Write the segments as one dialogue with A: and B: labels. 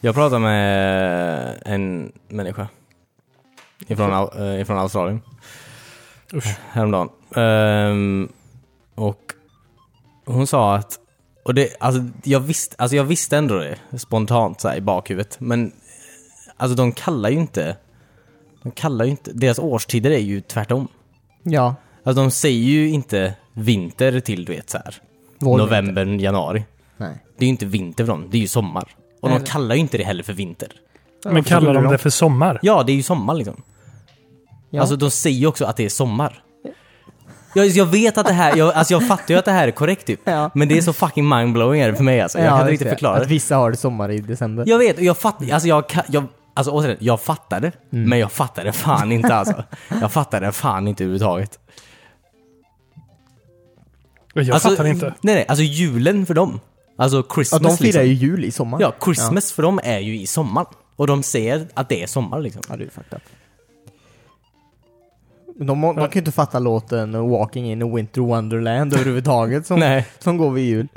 A: Jag pratade med en människa ifrån, Au- eh, ifrån Australien
B: Usch.
A: häromdagen. Ehm, och hon sa att, och det, alltså, jag visste, alltså jag visste ändå det spontant så här, i bakhuvudet, men alltså de kallar ju inte, de kallar ju inte, deras årstider är ju tvärtom.
C: Ja.
A: Alltså de säger ju inte vinter till du vet så här,
C: Vår
A: november, januari.
C: Nej.
A: Det är ju inte vinter för dem, det är ju sommar. Och
C: Nej,
A: de
C: det-
A: kallar ju inte det heller för vinter.
B: Men kallar de
C: det
B: det för sommar?
A: Ja, det är ju sommar liksom.
C: Ja.
A: Alltså de säger ju också att det är sommar. Jag, jag vet att det här, jag, alltså jag fattar ju att det här är korrekt typ.
C: Ja.
A: Men det är så fucking mindblowing är det för mig alltså. Jag kan inte
C: just
A: riktigt
C: det.
A: förklara
C: Att
A: det.
C: vissa har sommar i december.
A: Jag vet, och jag fattar, alltså jag, kan- jag Alltså återigen, jag fattade,
C: Mm.
A: men jag fattade fan inte alltså. Jag fattade fan inte överhuvudtaget.
B: Jag
A: alltså,
B: fattar inte.
A: Nej nej, alltså julen för dem. Alltså
C: Ja,
A: Christmas
C: de firar
A: liksom.
C: ju jul i sommar.
A: Ja, Christmas för dem är ju i sommaren. Och de säger att det är sommar liksom.
C: Ja, det är fucked up. Men De, de kan ju inte fatta låten Walking in a Winter Wonderland överhuvudtaget som,
A: Nej.
C: som går vid jul.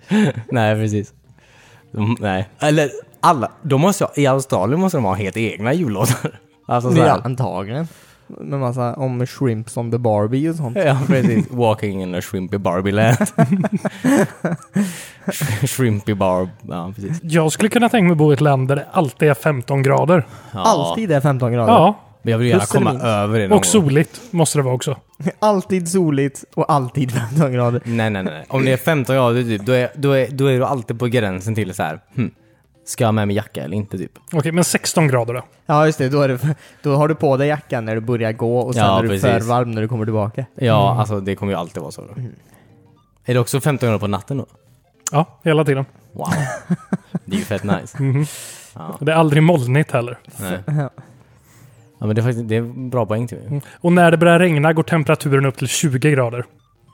A: Nej, precis. De, nej. Eller alla. De måste, ha- I Australien måste de ha helt egna jullåtar. Alltså så
C: Ja,
A: här.
C: antagligen. Med massa om shrimps on the Barbie och sånt.
A: Ja, precis. Walking in a shrimpy Barbie land. Sh- shrimpy barb. Ja, precis.
B: Jag skulle kunna tänka mig att bo i ett land där det alltid är 15 grader.
A: Ja.
C: Alltid är 15 grader.
B: Ja,
A: Men jag vill gärna
C: Plus eller
A: komma
C: minus.
A: över det någon
B: och soligt måste det vara också.
C: Alltid soligt och alltid 15 grader.
A: gång. Nej, nej, nej. Om det är 15 grader typ, då är, då, är, då är du alltid på gränsen till så här. Hm, ska jag ha med mig jacka eller inte typ?
B: Okej, men 16 grader då?
C: Ja just det, då, är det, då har du på dig jackan när du börjar gå och sen
A: Ja,
C: är du för
A: precis.
C: varm när du kommer tillbaka.
A: Ja, alltså det kommer ju alltid vara så då. Är det också 15 grader på natten då?
B: Ja, hela tiden. Mhm.
A: Wow. Det är ju fett nice.
B: Det är aldrig molnigt heller.
A: Nej. Ja, men det är faktiskt det är en bra poäng till mig.
B: Och när det börjar regna går temperaturen upp till 20 grader.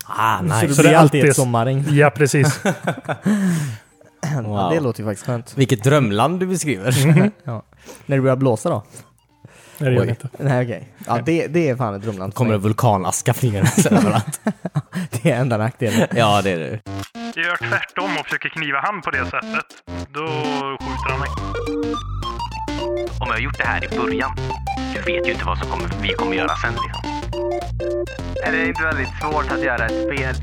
A: Ah, nice.
B: Så det är alltid
C: ett sommarregn.
B: Ja, precis.
C: Ja, det låter ju faktiskt skönt.
A: Vilket drömland du beskriver.
C: Ja. När det börjar blåsa då?
B: Nej, det gör
A: Oj.
B: det inte.
C: Nej okej. Ja, det, det är fan ett drömland. för
A: Kommer det
C: mig.
A: vulkanaska flygandes överallt.
C: Det är enda nackdelen.
A: Ja, det är det.
B: Jag gör tvärtom och försöker kniva han på det sättet. Då skjuter han mig.
D: Om jag har gjort det här i början, du vet ju inte vad som kommer, vi kommer göra sen liksom. Är det inte väldigt svårt att göra ett spel?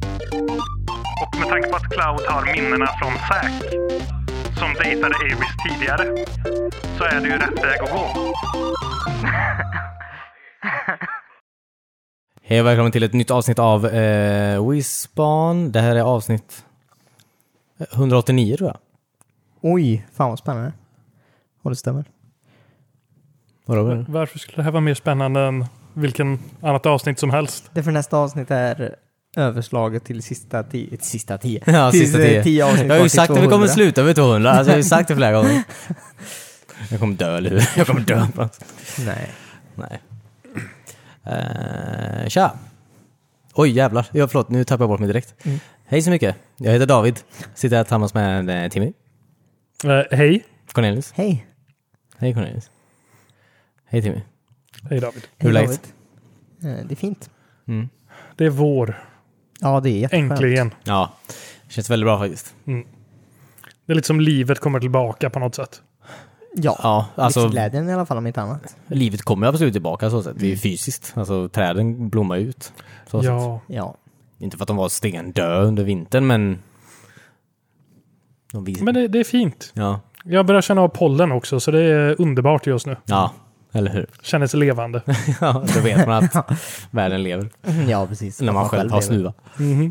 B: Och med tanke på att Cloud har minnena från Zack, som dejtade Avis tidigare, så är det ju rätt väg att gå.
A: Hej och välkommen till ett nytt avsnitt av eh, Wispan. Det här är avsnitt 189 tror jag.
C: Oj, fan vad spännande. Och det stämmer.
A: Vadå? var det?
B: Varför skulle det här vara mer spännande än vilken annat avsnitt som helst?
C: Det för nästa avsnitt är överslaget till sista tio. Sista tio?
A: Ja,
C: till
A: sista
C: eh,
A: tio.
C: tio avsnitt
A: Jag har
C: kvar
A: ju
C: till
A: sagt att vi kommer
C: 200.
A: sluta vid 200. Alltså, jag har ju sagt det flera gånger. Jag kommer dö, eller hur? Jag kommer dö.
C: Nej.
A: Nej. Eh, tja! Oj jävlar, ja, förlåt nu tappade jag bort mig direkt. Hej så mycket, jag heter David. Sitter här tillsammans med eh, Timmy,
B: Eh, hej.
A: Cornelius.
C: Hej.
A: Hej Cornelius. Hej Timmy.
B: Hej David.
A: Hur är
C: Hej,
A: läget?
C: David. Eh, Det är fint.
B: Det är vår.
C: Ja, det är jätteskönt.
B: Äntligen.
A: Ja, känns väldigt bra faktiskt.
B: Det är lite som livet kommer tillbaka på något sätt.
C: Ja.
A: Ja, alltså
C: Livsglädjen i alla fall om inte annat.
A: livet kommer absolut tillbaka så sett. Det är ju fysiskt, alltså träden blommar ut. Så sätt.
B: Ja.
C: Ja.
A: Inte för att de var stendö under vintern men... De vis-
B: Men det, det är fint.
A: Ja.
B: Jag börjar känna av pollen också, så det är underbart just nu.
A: ja, eller hur?
B: Känner sig levande.
A: Ja, då vet man att världen lever.
C: Ja, precis.
A: Mm. När
C: Att
A: man själv har
C: lever.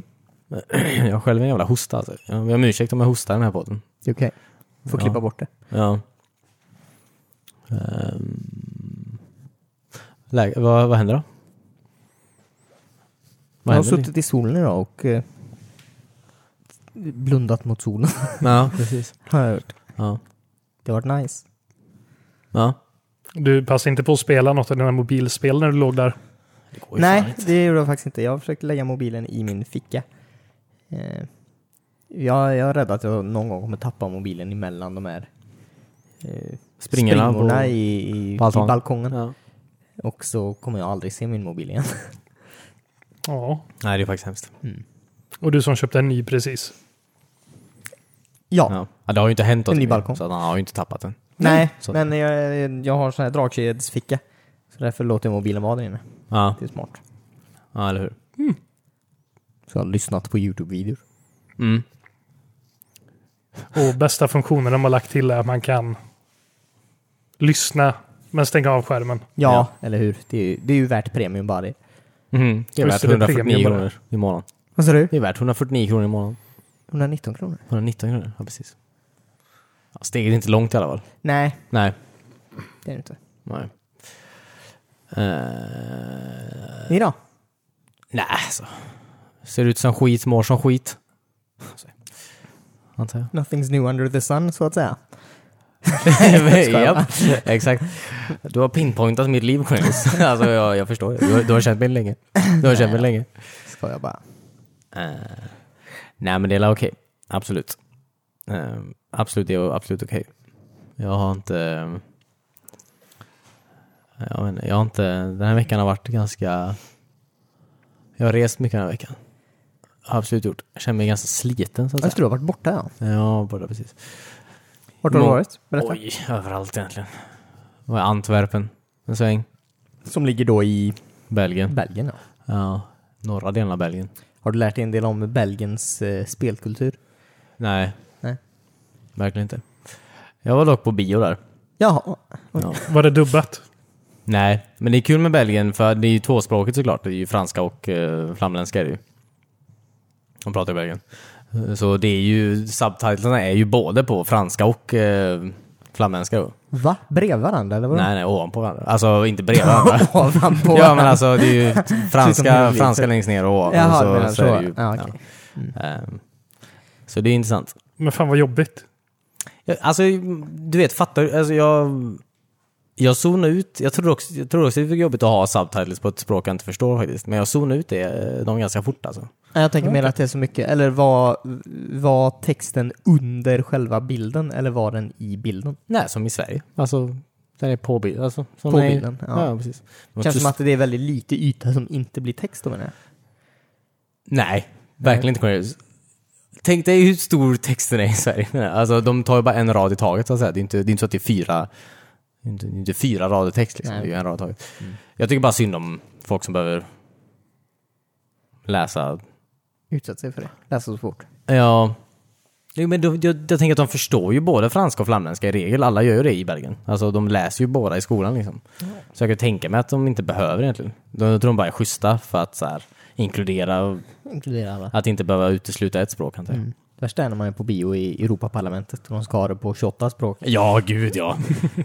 A: snuva. Jag har själv en jävla hosta alltså. Jag ber om ursäkt om jag hostar i den här podden.
C: Det är okej. Får klippa bort det.
A: Ja. Ehm. Läge, vad, vad händer då?
C: Jag
A: Vad
C: har
A: händer?
C: suttit i solen idag och eh, blundat mot solen.
A: Ja, precis.
C: har jag hört.
A: Ja.
C: Det har varit nice.
A: ja.
B: Du passade inte på att spela något av dina mobilspel när du låg där.
A: Det går ju fan
C: Nej,
A: inte.
C: det gjorde jag faktiskt inte. Jag försökte lägga mobilen i min ficka. Eh, jag, jag är rädd att jag någon gång kommer tappa mobilen emellan de här eh,
A: Springorna på-
C: springorna i, i,
A: balkongen.
C: i balkongen.
A: Ja.
C: Och så kommer jag aldrig se min mobil igen.
B: Ja.
A: Nej, det är faktiskt hemskt.
B: Och du som köpte en ny precis.
C: ja,
A: Ja. Ja, det har ju inte hänt
C: En ny
A: någonting.
C: balkong.
A: Så att han har ju inte tappat den.
C: Nej,
A: Så.
C: men jag, jag har sån här dragkedjesficka. Så därför låter jag mobilen vara där inne.
A: Ja,
C: Det är smart.
A: ja eller hur?
C: Så jag har lyssnat på YouTube-videor.
A: Mm.
B: Och bästa funktionen de har lagt till är att man kan lyssna men stänga av skärmen.
C: Ja, eller hur? Det är, ju, det är ju värt premium bara det.
A: Mm. Det är
B: Just
A: värt
B: det, det är premium
A: 149
B: bara.
A: kronor i månaden.
C: Vad sa du?
A: Det är värt 149 kronor i månaden.
C: 119 kronor?
A: 119 kronor, ja precis. Ja, steget är inte långt i alla fall.
C: Nej,
A: Nej.
C: det är det inte.
A: Nej. Eh,
C: Ni då?
A: nej, alltså. Ser ut som skit, mår som skit. Antar jag.
C: Nothing's new under the sun, så att säga.
A: Japp, exakt. Du har pinpointat mitt liv, Cornelis. alltså, jag, jag förstår. Du har, du har känt mig länge. Du har känt mig länge.
C: Ska jag bara.
A: Eh, nej, men det är väl okej. Absolut. Eh, absolut, det är absolut okej. Jag har inte... eh, jag, vet inte, jag har inte... Den här veckan har varit ganska... Jag har rest mycket den här veckan. Har absolut gjort. Jag känner mig ganska sliten, så att säga.
C: Jag tror du har varit borta ja.
A: Ja, bara precis.
C: Vart har du
A: Nå-
C: varit? Berätta.
A: Mm. Oj, överallt egentligen. Det var i Antwerpen en sväng.
C: Som ligger då i
A: Belgien.
C: Belgien ja.
A: Ja, norra delen av Belgien.
C: Har du lärt dig en del om Belgiens eh, spelkultur?
A: Nej.
C: Nej.
A: Verkligen inte. Jag var dock på bio där.
C: Jaha.
B: Var det dubbat?
A: Nej, men det är kul med Belgien för det är ju tvåspråkigt såklart. Det är ju franska och eh, flamländska är det ju. De pratar i Belgien. Eh, Så det är ju, subtitlarna är ju både på franska och eh, flamländska då.
C: Va? Bredvid varandra eller vadå?
A: Nej, nej, ovanpå varandra. Alltså inte bredvid varandra.
C: Ovanpå.
A: Ja men alltså det är ju
C: Ser ut som
A: franska,
C: en
A: franska längst ner och ovan.
C: Jaha,
A: så,
C: du menar
A: så,
C: så.
A: är det ju,
C: Ja, okej.
A: ja. Ehm, så det är intressant.
B: Men fan vad jobbigt.
A: Jag- Alltså, du vet, fattar du? Alltså, jag... Jag zonade ut, jag tror också, jag tror också det är jobbigt att ha subtitles på ett språk jag inte förstår faktiskt, men jag zonade ut det, eh, dem ganska fort alltså.
C: Nej, Jag tänker mer att det är så mycket, eller var, var texten under själva bilden eller var den i bilden?
A: Nej, som i Sverige. Alltså, den är på bilden. Alltså, som
C: På
A: är-
C: bilden, ja.
A: ja precis. Men
C: Känns
A: tyst-
C: som att det är väldigt lite yta som inte blir text då menar jag.
A: Nej, verkligen inte Cornelius. Tänk dig hur stor texten är i Sverige. Alltså, de tar ju bara en rad i taget så att säga. Det är inte, det är inte så att det är fyra, det är inte, det är inte fyra rader text liksom.
C: Nej.
A: Det är ju en rad i taget. Jag tycker bara synd om folk som behöver läsa
C: Utsatt sig för det. Läsa så fort.
A: Ja. Jo, men då, jag, jag tänker att de förstår ju både franska och flamländska i regel. Alla gör ju det i Belgien. Alltså de läser ju båda i skolan liksom.
C: Mm.
A: Så jag kan tänka mig att de inte behöver egentligen. De jag tror de bara är schyssta för att så här, inkludera och
C: Inkludera alla.
A: att inte behöva utesluta ett språk antar jag.
C: Mm. Värsta är när man är på bio i Europaparlamentet och de ska ha det på 28 språk.
A: Ja, gud ja.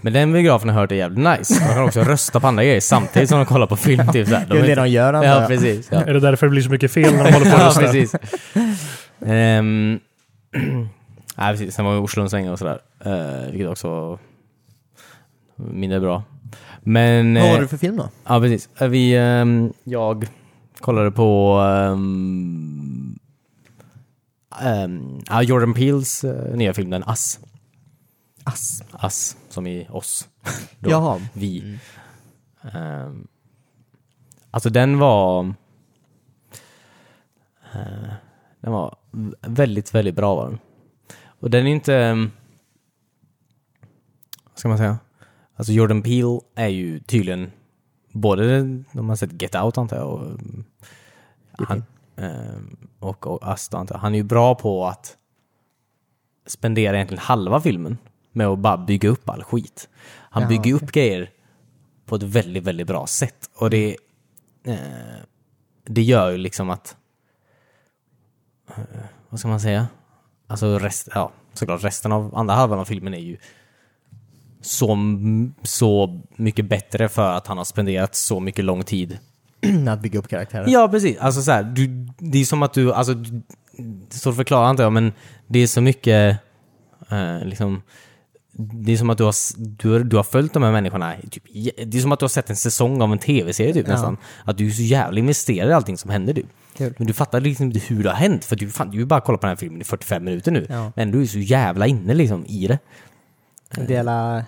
A: Men den biografen har jag hört är jävligt nice. Man kan också rösta på andra grejer samtidigt som de kollar på film. Typ, så här.
C: Det är det de gör antar
A: Ja,
C: jag.
A: precis. Ja.
B: Är det därför det blir så mycket fel när de håller på och
A: Ja,
B: röstar?
A: precis. Ehm, nej, precis. Sen var vi i Oslo en sväng och sådär. Uh, vilket också var mindre bra. Men...
C: Vad var
A: eh,
C: det för film då?
A: Ja, precis. Eh, Vi, ehm, jag kollade på ehm, ehm, ja, Jordan Peels eh, nya film, den Ass.
C: Ass.
A: Ass, som i oss. Då.
C: Jaha.
A: Vi. Ehm, alltså den var... eh, den var v- väldigt, väldigt bra var den. Och den är inte... ehm, vad ska man säga? Alltså Jordan Peele är ju tydligen både, de har sett Get Out antar jag, och, ehm, han, ehm, och, och Us då, antar jag. Han är ju bra på att spendera egentligen halva filmen med att bara bygga upp all skit. Han
C: Ja,
A: bygger
C: okej.
A: upp grejer på ett väldigt, väldigt bra sätt. Och det, eh, det gör ju liksom att, eh, vad ska man säga? Alltså rest, ja, såklart resten av andra halvan av filmen är ju så, m- så mycket bättre för att han har spenderat så mycket lång tid
C: att bygga upp karaktärer.
A: Ja, precis. Alltså så här, du, det är som att du, alltså, du, så förklarar inte jag, men det är så mycket, eh, liksom, det är som att du har, s- du, har- du har följt de här människorna, i typ, j- det är som att du har sett en säsong av en tv-serie typ
C: Ja.
A: nästan. Att du är så jävla investerad i allting som händer du.
C: Kul.
A: Men du fattar liksom inte hur det har hänt, för du, fan, du har ju bara kollat på den här filmen i 45 minuter nu.
C: Ja.
A: Men du är så jävla inne liksom i det.
C: En del eh,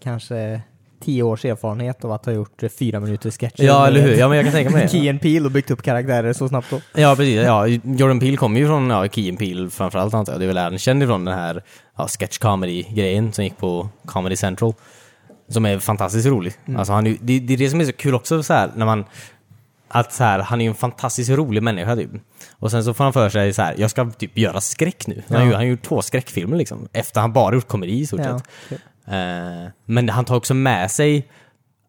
C: kanske tio års erfarenhet av att ha gjort eh, fyra minuter sketcher.
A: Ja, eller hur? Ja, men jag kan tänka mig
C: Key
A: det.
C: and Peele och byggt upp karaktärer så snabbt då.
A: Ja, precis. Ja, Jordan Peele kommer ju från ja, Key and Peele framförallt antar jag. Det är väl där han känd ifrån den här ja, sketch comedy-grejen som gick på Comedy Central. Som är fantastiskt rolig. Alltså, han är, ju- det, det är det som är så kul också så här, när man att så här, han är ju en fantastiskt rolig människa typ. Och sen så får han för sig så här, jag ska typ göra skräck nu. Han har ju- han har gjort två skräckfilmer liksom. Efter han bara gjort komedi i stort
C: Ja,
A: sett. Eh, men han tar också med sig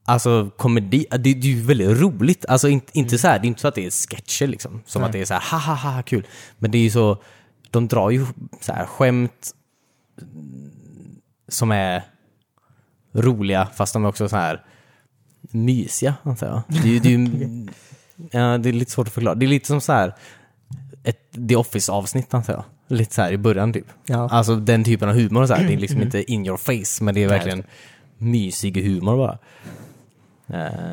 A: Alltså komedi, det, det är ju väldigt roligt. Alltså inte, inte så här, det är inte så att det är sketcher liksom. Som att det är så här, ha ha ha kul. Men det är ju så, de drar ju så här skämt som är roliga fast de är också så här mysiga antar jag. Det, är ju- det, är ju- ja, det är lite svårt att förklara. Det är lite som så här ett The Office-avsnitt antar jag. Lite så här i början typ.
C: Ja.
A: Alltså den typen av humor så här. Det är liksom inte in your face men det är verkligen mysig humor bara. Eh,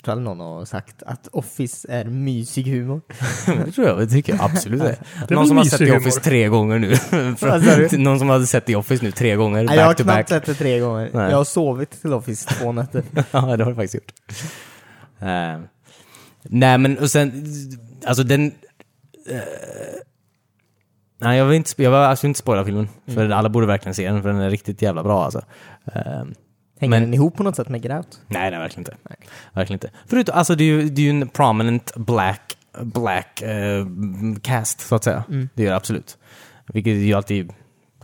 C: Jag tror aldrig någon har sagt att Office är mysig humor.
A: det tror jag, det tycker jag absolut det.
B: väl
A: Någon som har
B: mysig
A: sett The
B: humor.
A: Office tre gånger nu. Från-
C: Vad sa du?
A: Någon som hade sett The Office nu tre gånger
C: Nej, jag har
A: back to back.
C: knappt sett det tre gånger.
A: Nej.
C: Jag har sovit till Office två nätter.
A: ja, det har du faktiskt gjort. Eh, nej, men och sen, alltså den... eh, nej, jag vill inte, sp- jag vill alltså inte spoila filmen. För
C: Mm.
A: alla borde verkligen se den, för den är riktigt jävla bra alltså. Eh,
C: Hänger
A: Men-
C: den ihop på något sätt med Grout?
A: nej, nej, verkligen inte. Verkligen inte. Förutom, alltså det är ju, det är ju en prominent black, black eh, cast, så att säga. Det är det absolut. Vilket är ju alltid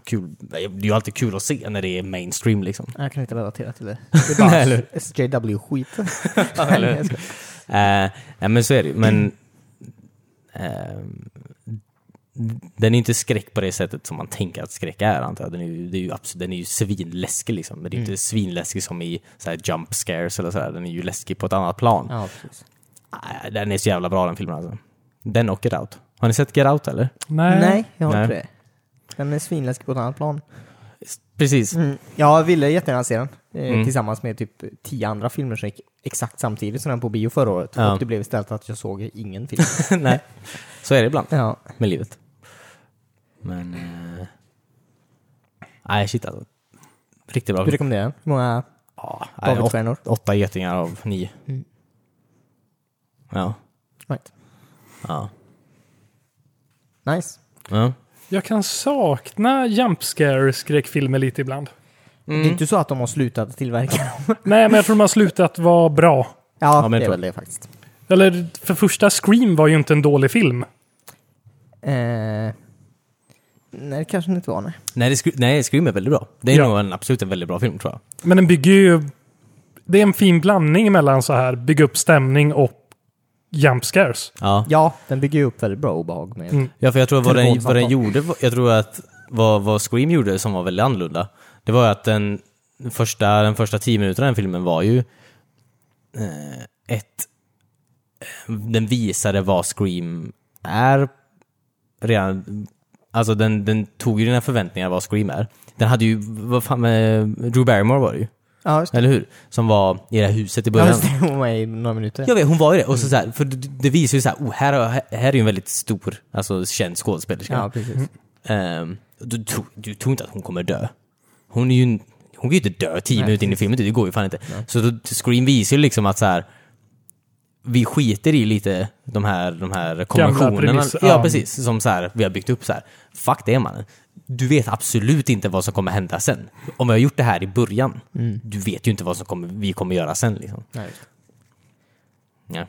A: kul, det är ju alltid kul att se när det är mainstream liksom.
C: Jag kan inte relatera till det. Det är bara
A: Nej, eller
C: SJW-skit.
A: Eller? Eh, nej men så är det ju. Men ehm, den är inte skräck på det sättet som man tänker att skräck är antar jag. Den är ju, det är ju, absolut, den är ju svinläskig liksom. Men det är inte svinläskig som i så här jump scares eller sådär. Den är ju läskig på ett annat plan.
C: ja, precis.
A: Eh, den är så jävla bra den filmen alltså. Den och Get Out. Har ni sett Get Out eller?
B: Nej.
C: Nej, jag har
A: Nej.
C: inte det. Den är svinläskig på ett annat plan.
A: Precis.
C: Mm. Jag ville jättegärna se den. Eh,
A: Mm.
C: Tillsammans med typ tio andra filmer som gick exakt samtidigt som den på bio förra året.
A: Ja.
C: Och det blev istället att jag såg ingen film.
A: nej. Så är det ibland
C: ja.
A: med livet. Men... eh, Nej, shit alltså. Riktigt bra.
C: Du rekommenderar den? Hur många
A: Ja, nej, åt-
C: Davidsstjärnor?
A: åtta getingar av nio.
C: Mm.
A: Ja.
C: Right.
A: Ja.
C: Nice.
A: ja. Mm.
B: Jag kan sakna jump scare skräckfilmer lite ibland.
A: Mm.
C: Det är inte så att de har slutat tillverka dem.
B: Nej, men jag tror de har slutat vara bra.
C: ja,
A: men
C: det
A: jag
C: är
A: tror-
C: väl det faktiskt.
B: Eller för första Scream var ju inte en dålig film.
C: Eh, nej, det kanske den inte var. Nej.
A: Nej, det skri- nej, Scream är väldigt bra. Det är
B: Ja.
A: nog en, absolut en väldigt bra film tror jag.
B: Men den bygger ju... Det är en fin blandning mellan så här bygga upp stämning och jump scares.
A: Ja,
C: Ja, den bygger ju upp väldigt bra obehag med
B: Mm.
A: ja för jag tror vad den, vad den
C: Telefonsamtal.
A: gjorde, var- jag tror att vad, vad Scream gjorde som var väldigt annorlunda, det var ju att den första, den första tio minuterna i den filmen var ju eh, ett... eh, Den visade vad Scream är redan, alltså den, den tog ju dina förväntningar vad Scream är. Den hade ju, vad fan, eh, Drew Barrymore var det ju,
C: Ja, just det.
A: eller hur? Som var i det här huset i
C: Ja,
A: början.
C: just det. Hon var i några minuter.
A: Jag vet, hon var ju det. Och så, så här, för det, det visar ju så här, oh, här, har- här är ju en väldigt stor, alltså känd skådespelerska.
C: Ja,
B: Mm.
C: precis.
A: Ehm, du, tror- du tror inte att hon kommer dö. Hon är ju, en- hon kan ju inte dö tio minuter in i filmen, det går ju fan inte. Så då, Scream visar ju liksom att så här, vi skiter i lite de här, de här konventionerna.
B: premisser,
A: Ja,
B: ja.
A: precis. Som så här, vi har byggt upp så här. Fuck det mannen. Du vet absolut inte vad som kommer hända sen. Om jag har gjort det här i början,
B: Mm.
A: du vet ju inte vad som kommer, vi kommer göra sen liksom.
C: Nej, just det.
A: Ja.
B: Mm.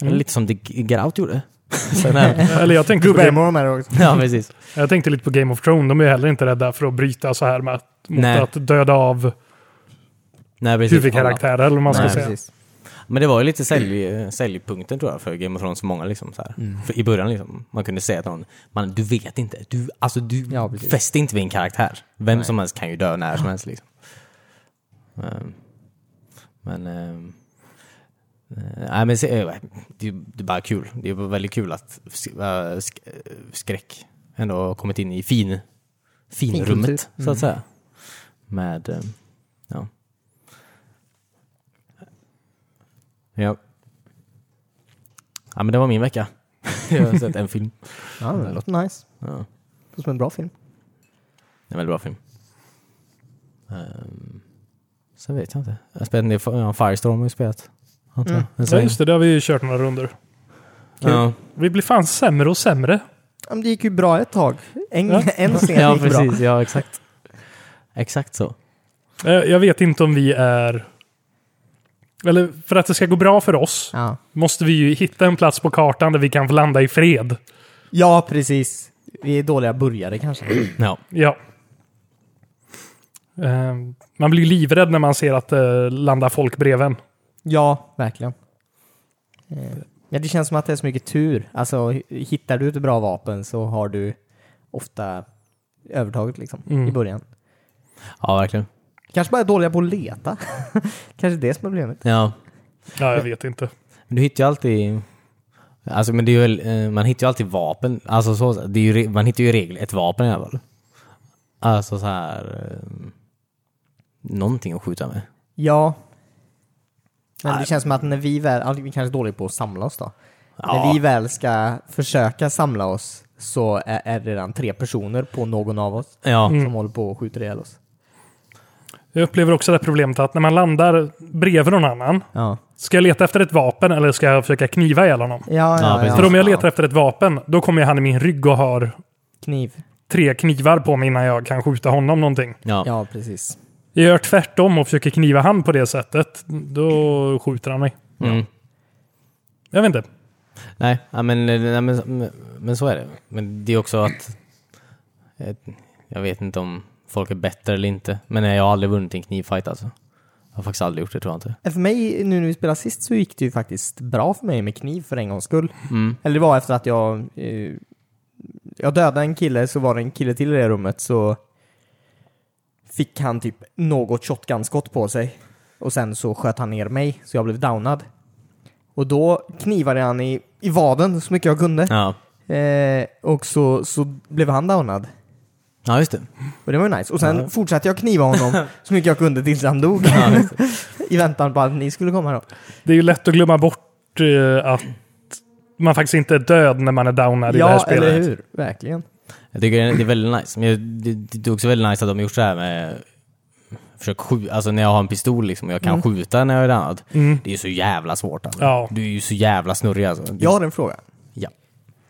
A: Eller Lite som det Get Out gjorde. Sen är-
B: Eller jag tänkte, på
C: Drew
B: Game,
C: Barrymore med också.
A: ja, precis.
B: jag tänkte lite på Game of Thrones. De är ju heller inte rädda för att bryta så här med att, mot
A: Nej.
B: att döda av
A: Nej, precis.
B: huvudkaraktärer. Eller vad man ska
C: Nej,
B: säga.
C: precis.
A: Men det var ju lite
C: Mm.
A: sälj, eh, säljpunkten tror jag för Game of Thrones för många. Liksom, så här. För I början liksom, man kunde säga till någon, man, du vet inte, du, alltså, du
C: Ja, precis.
A: fäster inte vid en karaktär. Vem som helst kan ju dö när som helst. Liksom. Ehm, Men, ehm, eh, nej, men se- eh, det, är- det är bara kul. Det är väldigt kul att sk- eh, sk- eh, skräck ändå har kommit in i fin, finrummet,
C: Finkultur.
A: så
B: Mm.
A: att säga. Med, ehm, ja. Ja. Ja men det var min vecka. Jag har sett en film.
C: Ja, det låter nice.
A: Ja.
C: Det låter som en bra film.
A: En väldigt bra film. Ehm, Sen vet jag inte. Jag spelade en del ja, Firestorm har jag spelat. Antar jag.
C: Mm.
A: Men
B: Ja,
A: sen-
B: just det. Det har vi ju kört några runder. kul.
A: Ja,
B: Vi blir fan sämre och sämre.
C: Ja, men det gick ju bra ett tag. En,
B: Ja.
C: en scen
A: ja
C: gick bra.
A: precis. Ja, exakt. Exakt så.
B: Eh, Jag vet inte om vi är... Eller för att det ska gå bra för oss
C: Ja.
B: måste vi ju hitta en plats på kartan där vi kan få landa i fred.
C: ja, precis. Vi är dåliga börjare kanske.
A: Ja.
B: Ja. Eh, Man blir ju livrädd när man ser att eh, det landar folk bredvid en.
C: Ja, verkligen. Eh, Ja, det känns som att det är så mycket tur. Alltså, h- hittar du ett bra vapen så har du ofta övertaget liksom,
B: Mm.
C: i början.
A: ja, verkligen.
C: Kanske bara är dåliga på att leta. Kanske det som är problemet.
A: Ja.
B: Ja, jag vet inte.
A: Men du hittar ju alltid... Alltså, men det är väl, eh, man hittar ju alltid vapen. Alltså, så, det är ju, re- man hittar ju i regel ett vapen i alla fall. Alltså så här... Eh, någonting att skjuta med.
C: Ja. Men det
A: Nej.
C: känns som att när vi väl, ja, vi kanske är dåliga på att samla oss då.
A: Ja.
C: När vi väl ska försöka samla oss så är, är det redan tre personer på någon av oss
A: Ja,
B: Mm.
C: som håller på och skjuter ihjäl oss.
B: Jag upplever också det här problemet att när man landar bredvid någon annan,
C: Ja,
B: ska jag leta efter ett vapen eller ska jag försöka kniva ihjäl honom?
C: ja,
A: Ja,
C: ja. ja,
A: precis.
B: För om jag letar efter ett vapen, då kommer han i min rygg och har
C: Kniv.
B: tre knivar på mig innan jag kan skjuta honom någonting.
A: ja.
C: Ja, precis.
B: Jag gör tvärtom och försöker kniva han på det sättet, då skjuter han mig.
A: Mm.
B: Jag vet inte.
A: Nej, ja, men, eh, nej men, men så är det. Men det är också att... eh, Jag vet inte om folk är bättre eller inte, men jag har aldrig vunnit en knivfight alltså. Jag har faktiskt aldrig gjort det tror jag inte.
C: För mig, nu när vi spelade sist, så gick det ju faktiskt bra för mig med kniv för en gångs skull. Eller det var efter att jag... Eh, jag dödade en kille, så var det en kille till i det rummet, så fick han typ något shotgunskott på sig. Och sen så sköt han ner mig, så jag blev downad. Och då knivade han i, i vaden så mycket jag kunde.
A: Ja,
C: Eh, och så, så blev han downad.
A: ja just det.
C: Och det var ju nice. Och sen fortsatte jag kniva honom så mycket jag kunde tills han dog. I väntan på att ni skulle komma då.
B: Det är ju lätt att glömma bort eh, att man faktiskt inte är död när man är downad i det här
C: Ja,
B: spelet.
C: eller hur? Verkligen.
A: Jag tycker det är väldigt nice. Men jag- det, det är också väldigt nice att de har gjort så här med... Försök skjuta, alltså när jag har en pistol liksom och jag kan skjuta när jag är död. Det är ju så jävla svårt alltså.
B: Ja.
A: Du är ju så jävla snurrig alltså. Det,
C: Jag har en fråga.
A: ja.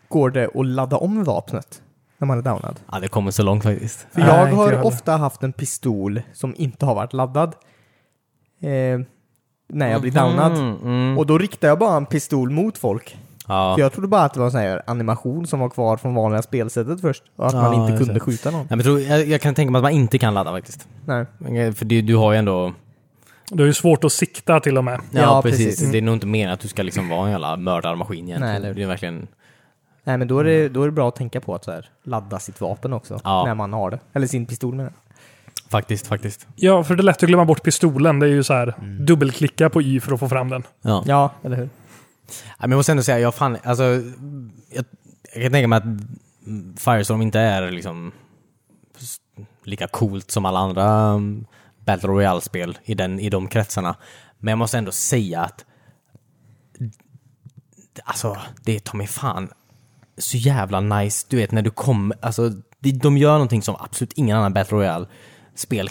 C: Går det att ladda om vapnet när man är downad?
A: ja, det kommer så långt faktiskt.
C: För
B: Nej,
C: jag
B: inte
C: har
B: jag heller.
C: ofta haft en pistol som inte har varit laddad. Eh, när jag blir downad.
A: Mm, mm.
C: Och då riktar jag bara en pistol mot folk.
A: Ja.
C: För jag trodde bara att det var en sån här animation som var kvar från vanliga spelsättet först. Och att man
A: Ja,
C: inte
A: jag
C: kunde
A: ser.
C: skjuta någon.
A: Ja, men jag, tror, jag, jag kan tänka mig att man inte kan ladda faktiskt.
C: Nej.
A: För det, du har ju ändå...
B: Det är ju svårt att sikta till och med.
A: Ja,
C: Ja,
A: precis.
C: precis.
A: Det är nog inte meningen att du ska liksom vara en jävla mördarmaskin egentligen.
C: Nej,
A: Nej,
C: eller hur?
A: det är verkligen...
C: Nej men då är, det, då är det bra att tänka på att så här, ladda sitt vapen också.
A: Ja.
C: När man har det. Eller sin pistol menar jag.
A: Faktiskt, faktiskt.
B: Ja, för det är lätt att glömma bort pistolen. Det är ju så här,
A: Mm.
B: dubbelklicka på Y för att få fram den.
A: Ja.
C: Ja, eller hur?
A: Ja, Men jag måste ändå säga, jag fan... Alltså, jag, jag kan tänka mig att Firestorm inte är liksom s- lika coolt som alla andra um, Battle Royale-spel i, den, i de kretsarna. Men jag måste ändå säga att... Alltså, det är ta mig fan så jävla nice, du vet när du kommer, alltså de- de gör någonting som absolut ingen annan Battle Royale-spel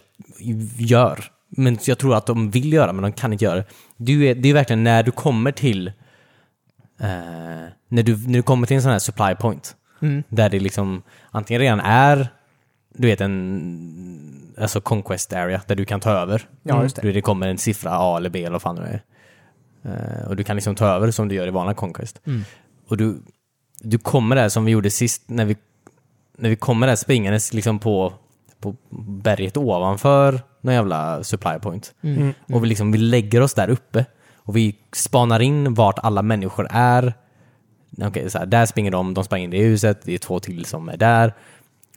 A: gör. Men jag tror att de vill göra, men de kan inte göra det. Du är, det är verkligen när du kommer till eh, när, du, när du kommer till en sån här supply point,
C: Mm.
A: där det liksom antingen redan är du vet en alltså conquest area där du kan ta över.
C: Ja, just det.
A: Du vet, det kommer en siffra A eller B eller vad fan det är. Eh, och du kan liksom ta över som du gör i vanliga Conquest.
C: Mm.
A: Och du, du kommer där som vi gjorde sist när vi, när vi kommer där springandes liksom på, på berget ovanför någon jävla supply point.
C: Mm.
A: Och vi, liksom, vi lägger oss där uppe och vi spanar in vart alla människor är. Okej, så här, där springer de, de sprang in i det huset, det är två till som är där.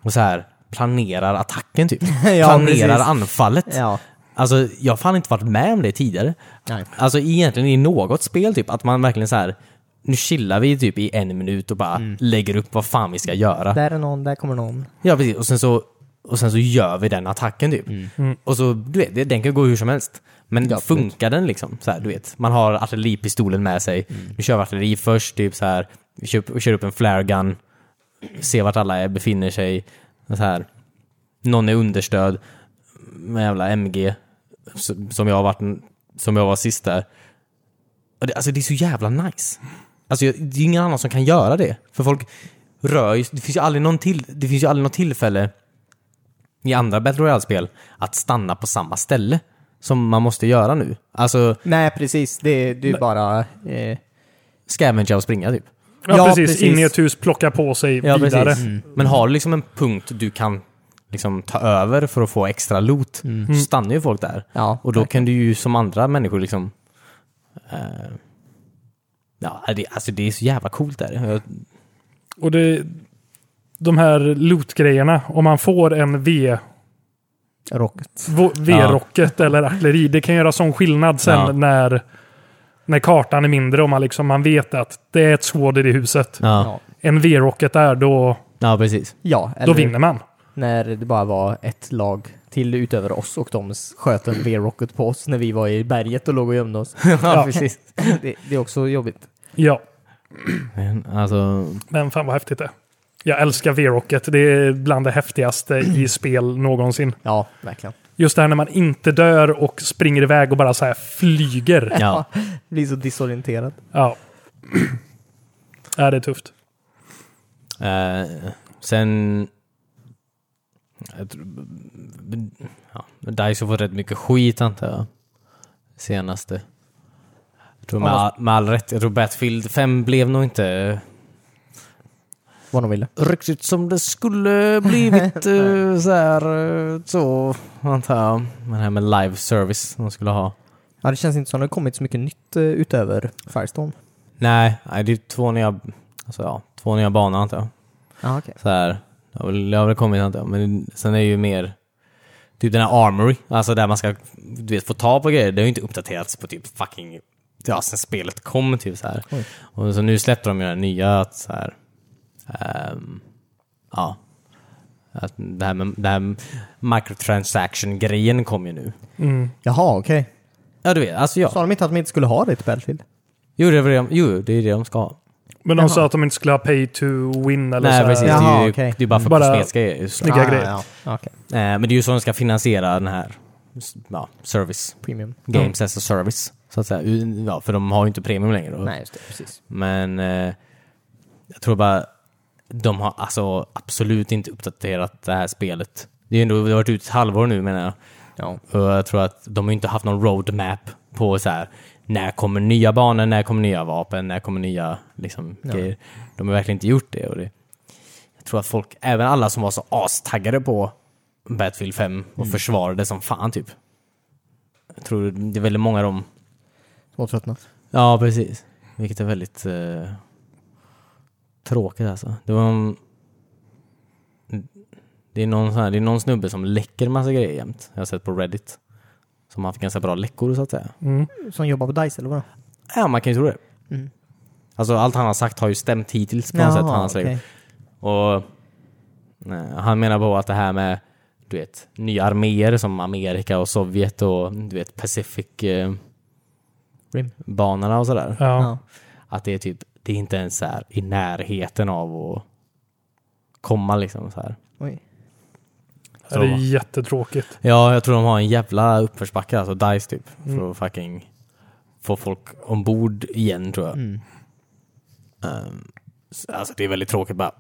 A: Och så här planerar attacken typ.
C: Ja,
A: planerar
C: precis.
A: anfallet.
C: Ja.
A: Alltså, jag har fan inte varit med om det tidigare.
C: Nej.
A: Alltså egentligen i något spel typ, att man verkligen så här. Nu chillar vi typ i en minut och bara
C: Mm.
A: lägger upp vad fan vi ska göra.
C: Där är någon, där kommer någon.
A: Ja precis, och sen så, och sen så gör vi den attacken typ. Och så, du vet, det- den kan gå hur som helst. Men funkar den liksom? Så här, du vet, man har artilleripistolen med sig. Nu kör vi artilleri först, typ så här. Vi kör, upp- kör upp en flare gun. Ser vart alla är, befinner sig. Så här. Någon är understöd med jävla MG. s- som jag har varit, som jag var sist där. Och det- Alltså det är så jävla nice. Alltså jag- det är ju ingen annan som kan göra det. För folk rör ju, det finns ju aldrig någon till, det finns ju aldrig något tillfälle i andra Battle Royale-spel att stanna på samma ställe som man måste göra nu. Alltså
C: Nej, precis. Det, det är ju bara... Eh,
A: scavenga och springa typ.
B: Ja,
C: Ja,
B: precis.
C: precis.
B: In i ett hus, plocka på sig vidare.
A: Men har du liksom en punkt du kan liksom ta över för att få extra loot, så stannar ju folk där.
C: Ja,
A: och då kan du ju som andra människor liksom... eh, ja, det, alltså det är så jävla coolt där. Jag,
B: Och det, de här loot-grejerna, om man får en V-
C: rocket.
B: v- V-rocket eller artilleri, det kan göra sån skillnad sen
A: Ja.
B: när, när kartan är mindre. Om man, liksom, man vet att det är ett svåd i det huset.
A: ja.
B: En V-rocket där, då,
A: ja, precis.
C: Ja,
B: då
C: eller
B: vinner man.
C: när det bara var ett lag till utöver oss och de sköt en V-rocket på oss när vi var i berget och låg och gömde oss.
A: ja, precis.
C: Det, det är också jobbigt.
B: Ja,
A: Men, alltså,
B: men fan vad häftigt det är. Jag älskar V-rocket. Det är bland det häftigaste i spel någonsin.
C: Ja, verkligen.
B: Just det här när man inte dör och springer iväg och bara så här flyger.
A: ja.
C: Blir så disorienterad.
B: Ja. ja, det är tufft.
A: Eh, sen... Jag tror, ja, Dice har fått rätt mycket skit antar jag. Senaste. Jag tror med, all, med all rätt. Jag tror Battlefield 5 blev nog inte
C: Vad de ville.
A: riktigt som det skulle blivit. eh, så här, eh, så antar jag. Men det här med live service de skulle ha.
C: Ja, det känns inte som det har kommit så mycket nytt eh, utöver Firestorm.
A: Nej, nej, det är två nya, alltså, ja, två nya banor antar jag.
C: Ja, okej.
A: så här. Det har väl, det har väl kommit antar jag, men sen är det ju mer typ den här armory, alltså där man ska du vet, få ta på grejer. Det har ju inte uppdaterats på typ fucking, ja sen spelet kom typ så här.
C: Oj.
A: Och så nu släppte de ju den nya att så här, ehm, ja. Att det här med det här microtransaction-grejen kom ju nu.
C: Jaha, okej.
A: Ja du vet, alltså
C: Sa
A: ja.
C: de inte att de inte skulle ha det till Battlefield?
A: Jo det, är väl det, de- jo, det är det de ska ha.
B: Men de sa att de inte skulle ha pay to win eller
A: Nej
B: så. här.
A: precis, det är
C: Jaha,
A: ju
C: okej.
A: det är bara för
B: Bara
A: kosmetiska grejer. såklart.
B: Snygga grejer.
C: Ja, Ah, ja. okej.
A: Eh, Men det är ju så de ska finansiera den här ja, service
C: Premium.
A: Games as a service, så att säga. U- Ja, för de har ju inte premium längre. Då.
C: Mm. Nej, just det. Precis.
A: Men eh, jag tror bara de har alltså absolut inte uppdaterat det här spelet. Det är ju ändå det har varit ut ett halvår nu menar jag.
C: Ja.
A: Och jag tror att de har inte haft någon roadmap på så här när kommer nya banor, när kommer nya vapen, när kommer nya liksom, grejer. De har verkligen inte gjort det. Och det. Jag tror att folk, även alla som var så astaggade på Battlefield 5 och försvarade som fan typ. Jag tror det är väldigt många av dem
C: Små tröttnat.
A: Ja, precis. Vilket är väldigt eh, tråkigt alltså. Det var en... Det är, någon sån här, det är någon snubbe som läcker massa grejer jämt. Jag har sett på Reddit. Som har haft ganska bra läckor så att säga.
C: Mm. Som jobbar på Dice eller vadå?
A: Ja, man kan ju tro det.
C: Mm.
A: Alltså allt han har sagt har ju stämt hittills på något sätt. Han har
C: okej.
A: och eh, han menar på att det här med du vet, nya arméer som Amerika och Sovjet och du vet Pacific eh,
C: Rim.
A: banorna och sådär.
B: Ja.
C: Ja.
A: Att det är typ, det är inte ens så här i närheten av att komma liksom så här.
C: Oj.
B: Ja, Det är jättetråkigt.
A: Ja, jag tror de har en jävla uppförsbacke, alltså DICE typ, för att fucking få folk ombord igen tror jag.
C: Mm.
A: Ehm, så- alltså det är väldigt tråkigt bara.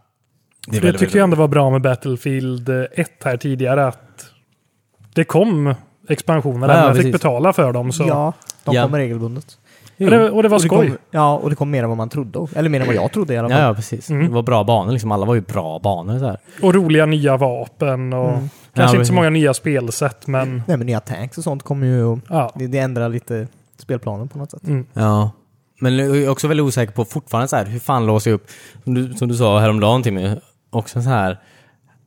A: Det, är
B: Det tycker jag ändå var bra med Battlefield 1 här tidigare. att Det kom expansioner.
A: Ja,
B: Ja,
A: ja,
B: jag fick
A: precis.
B: betala för dem. Så.
C: Ja, de
A: Ja.
C: kommer regelbundet.
B: Och, det, och det var
C: Och det
B: skoj.
C: kom- ja, och det kom mer än vad man trodde. Eller mer än vad jag trodde i alla fall.
A: Ja, ja precis. Det var bra banor liksom, alla var ju bra banor så här.
B: Och roliga nya vapen. Och
A: Ja,
B: Kanske inte
A: precis.
B: så många nya spelsätt, men
C: Nej, men nya tanks och sånt kommer ju... och-
B: ja.
C: Det, det ändrar lite spelplanen på något sätt.
B: Mm.
A: Ja. Men jag är också väldigt osäker på fortfarande så här, hur fan låser jag upp, som du, som du sa häromdagen Timmy, också så här,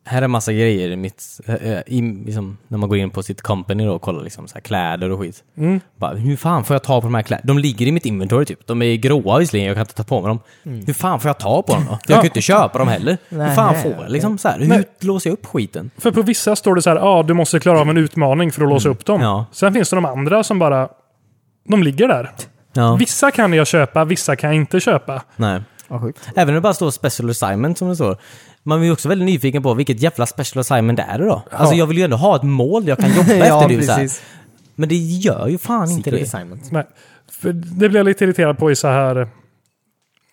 A: här är massa grejer i mitt, eh, eh, i, liksom, när man går in på sitt company då och kollar liksom så här, kläder och skit. Bara, hur fan får jag ta på de här kläderna? De ligger i mitt inventory typ, de är gråa visserligen, jag kan inte ta på mig dem. Hur fan får jag ta på dem då? Jag kan ju inte köpa dem heller. hur
C: Nej,
A: fan
C: nej,
A: får jag liksom så här, hur
B: Nej.
A: låser jag upp skiten?
B: För på vissa står det så här, ja, du måste klara av en utmaning för att låsa upp dem.
A: Mm. Ja.
B: Sen finns det de andra som bara, de ligger där.
A: Ja,
B: Vissa kan jag köpa, vissa kan jag inte köpa.
A: nej.
C: Vad sjukt.
A: Även om det bara står special assignment som det står. Man är ju också väldigt nyfiken på vilket jävla special assignment det är då. Alltså jag vill ju ändå ha ett mål jag kan jobba
C: Ja,
A: efter. Det är ju så här.
C: precis.
A: Men det gör ju fan inte
C: Secret
A: det.
C: assignment.
B: Nej. För det blev jag lite irriterad på i så här...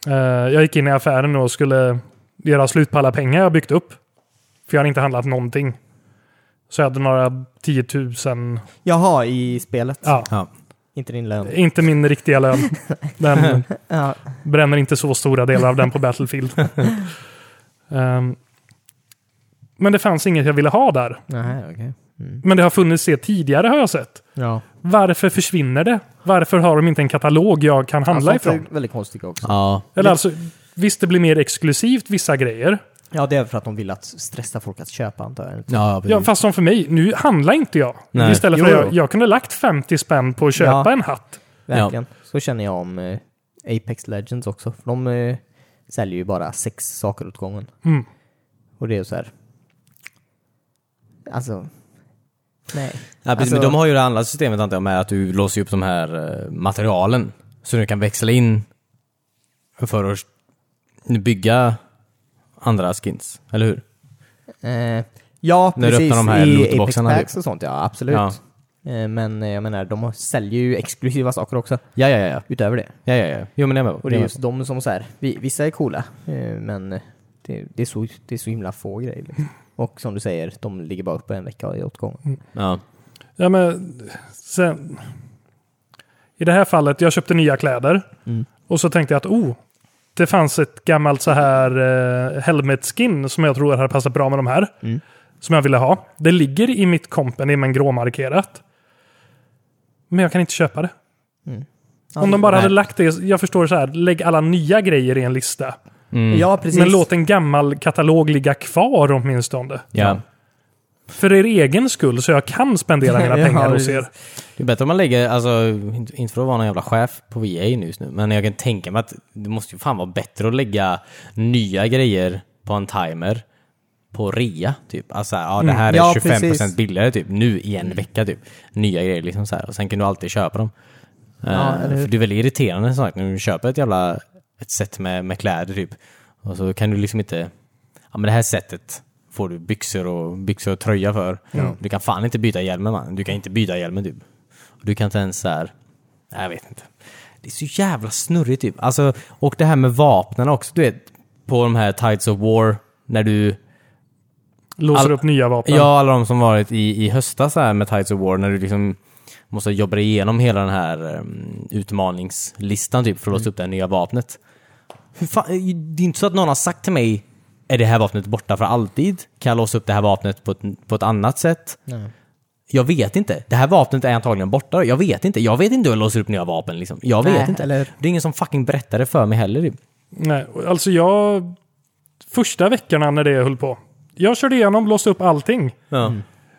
B: eh, jag gick in i affären och skulle göra slut på alla pengar jag byggt upp. För jag hade inte handlat någonting. Så jag hade några 10 000,
C: Jaha, i spelet.
B: ja,
A: Ja.
C: Inte din lön.
B: inte min riktiga lön. Den
C: Ja.
B: bränner inte så stora delar av den på Battlefield. Ehm, men det fanns inget jag ville ha där.
C: Nej, okej. Mm.
B: Men det har funnits det tidigare har jag sett.
C: Ja.
B: Varför försvinner det? Varför har de inte en katalog jag kan handla
C: Alltså,
B: ifrån?
C: det är väldigt konstigt också.
A: ja.
B: Eller alltså, visst det blir mer exklusivt vissa grejer.
C: Ja, det är för att de vill att stressa folk att köpa antar jag.
A: Ja, precis.
B: Ja, fast som för mig, nu handlar inte jag.
A: Nej.
B: Istället för
C: Jo,
B: jag,
C: jo.
B: jag kunde lagt 50 spänn på att köpa
C: Ja.
B: en hatt.
C: Verkligen. Så känner jag om eh, Apex Legends också. För de eh, säljer ju bara sex saker åt gången.
B: Mm.
C: Och det är ju så här. Alltså. Nej.
A: Ja, precis,
C: Alltså-
A: men de har ju det andra systemet antar jag med att du låser upp de här eh, materialen så du kan växla in för att bygga andra skins, eller hur?
C: Eh, ja,
A: När du
C: precis.
A: öppnar de här
C: I Apex
A: lootboxarna,
C: Packs och sånt, ja absolut.
A: Ja.
C: Eh, men eh, jag menar, de har- säljer ju exklusiva saker också.
A: Ja, ja, ja. ja.
C: Utöver det.
A: ja, ja, ja. Jo, men jag är med.
C: Och det är just de som så här, vi, vissa är coola, eh, men eh, det, det, är så, det är så himla få grejer. Liksom.
B: Mm.
C: Och som du säger, de ligger bara uppe en vecka åt gången.
A: Ja.
B: Ja, men, sen, I det här fallet, jag köpte nya kläder. Och så tänkte jag att, oh, det fanns ett gammalt så här eh, helmet-skin som jag tror hade passat bra med de här. Som jag ville ha. Det ligger i mitt company, men gråmarkerat. Men jag kan inte köpa det. Om de bara hade lagt det, jag förstår så här, lägg alla nya grejer i en lista.
C: Ja, precis.
B: Men låt en gammal katalog ligga kvar åtminstone.
A: ja.
B: För er egen skull, så jag kan spendera mina
C: Ja,
B: pengar hos
C: precis.
B: er.
A: Det är bättre om man lägger, alltså, inte inte för att vara någon jävla chef på VA nu just nu, men jag kan tänka mig att det måste ju fan vara bättre att lägga nya grejer på en timer på rea, typ. Alltså, ja, det här är
C: Mm. Ja,
A: 25%
C: precis.
A: billigare, typ, nu i en vecka, typ. Nya grejer, liksom så här. Och sen kan du alltid köpa dem. Eh,
C: eller hur?
A: för det är väldigt irriterande, som sagt, när du köper ett jävla, ett set med, med kläder, typ. Och så kan du liksom inte, ja men det här sättet får du byxor och, byxor och tröja för. Du kan fan inte byta hjälmen man. Du kan inte byta hjälmen typ. Och du kan inte ens så här. Nej, jag vet inte. Det är så jävla snurrigt typ. Alltså, och det här med vapnen också. Du vet, på de här Tides of War, när du
B: Låser
A: All-
B: upp nya vapen.
A: Ja, alla de som varit i, i höstas här med Tides of War, när du liksom måste jobba igenom hela den här ehm, utmaningslistan typ för att låsa upp det här nya vapnet. Hur fan, det är inte så att någon har sagt till mig är det här vapnet borta för alltid? Kan jag låsa upp det här vapnet på ett, på ett annat sätt? Jag vet inte. Det här vapnet är antagligen borta. Jag vet inte. Jag vet inte hur jag låser upp nya vapen. Liksom. Jag vet
C: Nej,
A: inte.
C: eller-
A: Det är ingen som fucking berättar det för mig heller. Typ.
B: Nej, alltså jag... Första veckorna när det höll på. Jag körde igenom, låste upp allting.
A: Ja.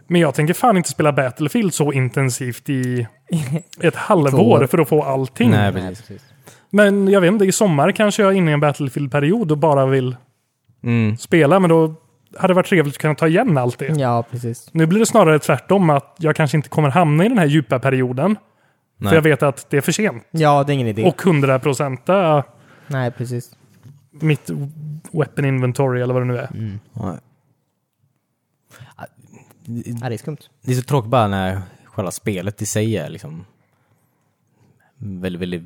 B: Men jag tänker fan inte spela Battlefield så intensivt i ett halvår
C: år.
B: för att få allting.
C: Mm.
A: Nej, precis.
B: Men jag vet inte, i sommar kanske jag är inne i en Battlefield-period och bara vill
A: Mm.
B: spela. Men då hade det varit trevligt att kunna ta igen allt det.
C: Ja, precis.
B: Nu blir det snarare tvärtom, att jag kanske inte kommer hamna i den här djupa perioden.
A: Nej.
B: För jag vet att det är för sent.
C: Ja, det är ingen idé.
B: Och 100 procent
C: Nej, precis.
B: mitt weapon inventory eller vad det nu är.
C: Mm.
A: Nej.
C: Ja, det är skumt.
A: Det är så tråkigt bara när själva spelet i sig är liksom väldigt, väldigt,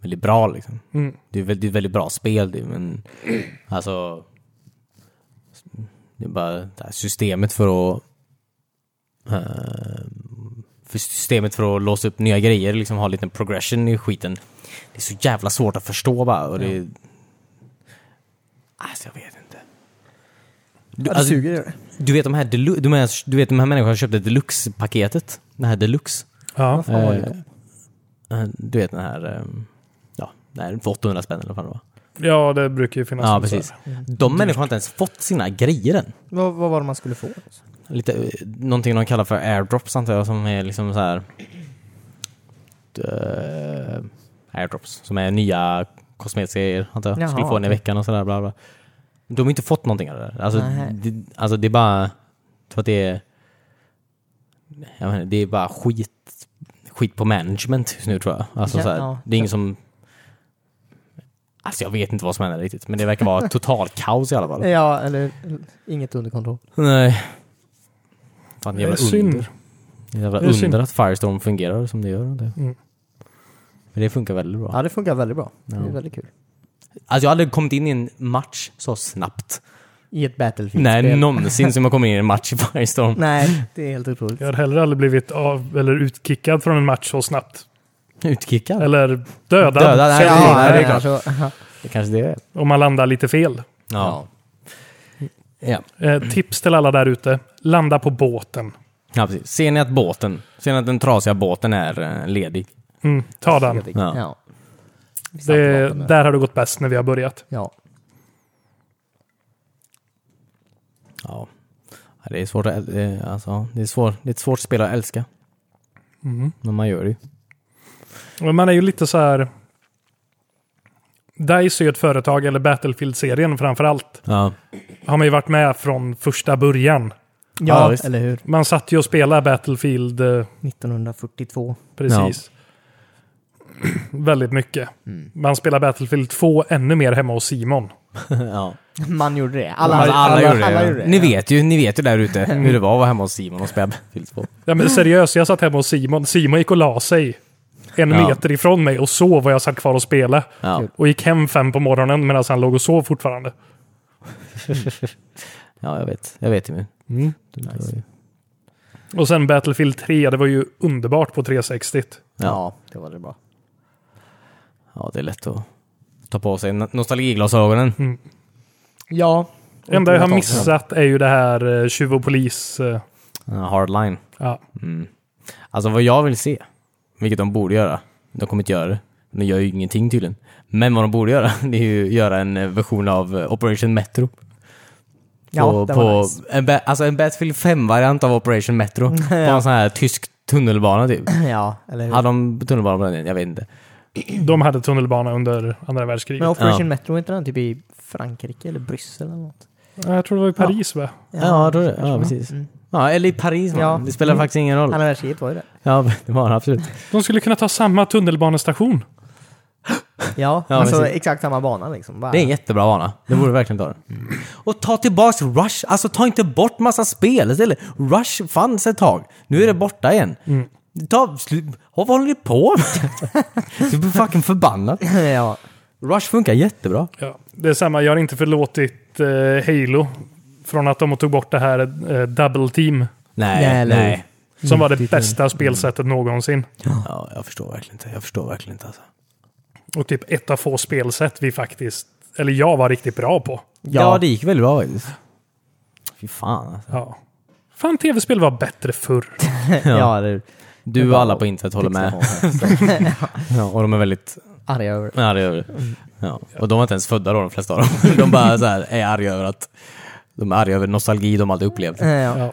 A: väldigt bra liksom.
B: Mm.
A: Det är väldigt, väldigt bra spel det, men alltså det är bara det här systemet för att eh, för systemet för att låsa upp nya grejer, liksom ha en liten progression i skiten. Det är så jävla svårt att förstå bara och det... Alltså jag vet inte. Du,
C: Ja, det
A: alltså,
C: suger gör det.
A: du vet de här, delu- de här, du vet, de här människorna som köpte deluxe-paketet? Det här deluxe.
B: Ja.
C: Fan, vad
A: Eh,
C: gott.
A: eh, Du vet den här, eh, ja, den här för 800 spänn eller vad fan det var.
B: ja, det brukar ju finnas.
A: Ja,
B: något
A: precis.
B: där.
A: De människorna har inte ens fått sina grejer än.
C: Vad, vad var det man skulle få?
A: Lite, eh, någonting de kallar för airdrops antar jag, som är liksom så här... eh, airdrops, som är nya kosmetiska grejer antar jag.
C: Jaha,
A: Skulle få en i
C: okej.
A: veckan och sådär bla bla. De har inte fått någonting av det där. Alltså,
C: Nej.
A: det, alltså det är bara, för att det är, jag menar, det är bara skit, skit på management just nu tror jag. Alltså,
C: Ja,
A: så här,
C: ja.
A: Det är ingen som, alltså jag vet inte vad som händer riktigt, men det verkar vara total kaos i alla fall.
C: Ja, eller inget under kontroll.
A: Nej. Fan,
B: Det är
A: jävla
B: synd.
A: under. Jävla
B: Det är synd.
A: under att Firestorm fungerar som det gör. Det.
B: Mm.
A: Men det funkar väldigt bra.
C: Ja, det funkar väldigt bra. Det
A: Ja.
C: är väldigt kul.
A: Alltså jag har aldrig kommit in i en match så snabbt.
C: I ett battlefield
A: Nej, någonsin som jag kommit in i en match i Firestorm.
C: Nej, det är helt otroligt.
B: Jag har heller aldrig blivit av eller utkickad från en match så snabbt.
A: Utkickad.
B: Eller dödad.
A: Dödad, nej,
B: säger
A: nej,
B: vi.
A: nej, det är klart.
C: alltså, aha.
A: Det kanske det är.
B: Om man landar lite fel.
A: Ja. Ja,
B: Eh, tips till alla där ute. Landa på båten.
A: ja precis. Ser ni att båten, ser ni att den trasiga båten är eh, ledig?
B: Mm, ta den.
A: Ja.
C: Ja.
B: Det, där har det gått bäst när vi har börjat.
C: Ja.
A: Ja. Ja, Det är svårt att, äl- eh, alltså, det är svårt, det är ett svårt spel att älska. Men man gör det ju.
B: Men Mm. man är ju lite så här... DICE är ju ett företag, eller Battlefield-serien framför allt.
A: Ja.
B: Har man ju varit med från första början.
A: Ja,
C: Ja,
A: visst.
C: eller hur?
B: Man satt ju och spelade Battlefield eh,
C: 1942.
B: precis. Väldigt mycket.
A: Mm.
B: Man spelar Battlefield 2 ännu mer hemma hos Simon.
A: ja.
C: Man gjorde det.
A: Alla,
C: Alla,
A: Alltså, alla, gjorde det.
C: alla gjorde det.
A: Ni
C: ja.
A: vet ju, ni vet ju där ute hur det var att vara hemma hos Simon och spela Battlefield 2.
B: Ja, men seriöst, jag satt hemma hos Simon. Simon gick och la sig en
A: Ja.
B: meter ifrån mig och sov och jag satt kvar och spelade.
A: Ja.
C: Typ.
B: Och gick hem fem på morgonen medan han låg och sov fortfarande.
A: ja, jag vet. Jag vet ju. Nice.
B: Och sen Battlefield 3, det var ju underbart på 360.
A: Ja.
C: Ja, det var det bra.
A: ja, det är lätt att ta på sig no- nostalgiglasögonen.
C: Ja.
B: Det enda jag har
C: Inte
B: missat är ju det här eh, tjuv och polis. eh,
C: Mm.
A: Ja, Hardline.
B: Ja.
A: Alltså vad jag vill se, vilket de borde göra, de kommer inte göra det, de gör ju ingenting tydligen. Men vad de borde göra, det är ju göra en eh, version av eh, Operation Metro. På,
C: Ja, det var
A: på
C: nice.
A: en, ba- alltså en Battlefield 5-variant av Operation Metro. På en sån här tysk tunnelbana typ.
C: Ja, eller hur?
A: Hade de tunnelbana på den tiden? Jag vet inte.
B: De hade tunnelbana under andra
C: Men
B: världskriget.
C: Operation
A: Ja.
C: Metro, är inte den typ i Frankrike eller Bryssel eller något?
B: Ja, Jag tror det var i Paris va?
A: Ja, då, ja precis. Ja, eller i Paris man.
C: Ja. Mm.
A: Det spelar faktiskt ingen roll.
C: Andra världskriget var ju det.
A: Ja, det var det absolut.
B: De skulle kunna ta samma tunnelbanestation.
C: Ja,
A: Ja,
C: alltså
A: precis.
C: exakt samma bana liksom. Bara,
A: Det är en jättebra vana. Det borde du verkligen ta den. Och ta tillbaks Rush. Alltså ta inte bort massa spel istället. Rush fanns ett tag. Nu är det borta igen. Ta, slu- vad håller ni på med? Du blir fucking förbannad.
C: ja.
A: Rush funkar jättebra.
B: Ja. Det är samma, jag har inte förlåtit eh, Halo från att de tog bort det här eh, Double Team.
A: Nej,
C: Nej, eller
A: nej.
B: Som var det bästa spelsättet någonsin.
A: Ja, jag förstår verkligen inte. Jag förstår verkligen inte alltså.
B: Och typ ett av få spelsätt vi faktiskt, eller jag var riktigt bra på.
A: Ja, det gick väldigt bra faktiskt. Fy fan alltså.
B: Ja. Fan, tv-spel var bättre förr.
C: ja, det är
A: Du och alla på internet håller med. Ja, och de är väldigt Mm.
C: Arga över det.
A: Ja, det gör det. Ja. Och de var inte ens födda då, de flesta av dem. De bara så här, är arga över att... De är arga över nostalgi de aldrig upplevt.
C: Ja, ja.
B: Ja.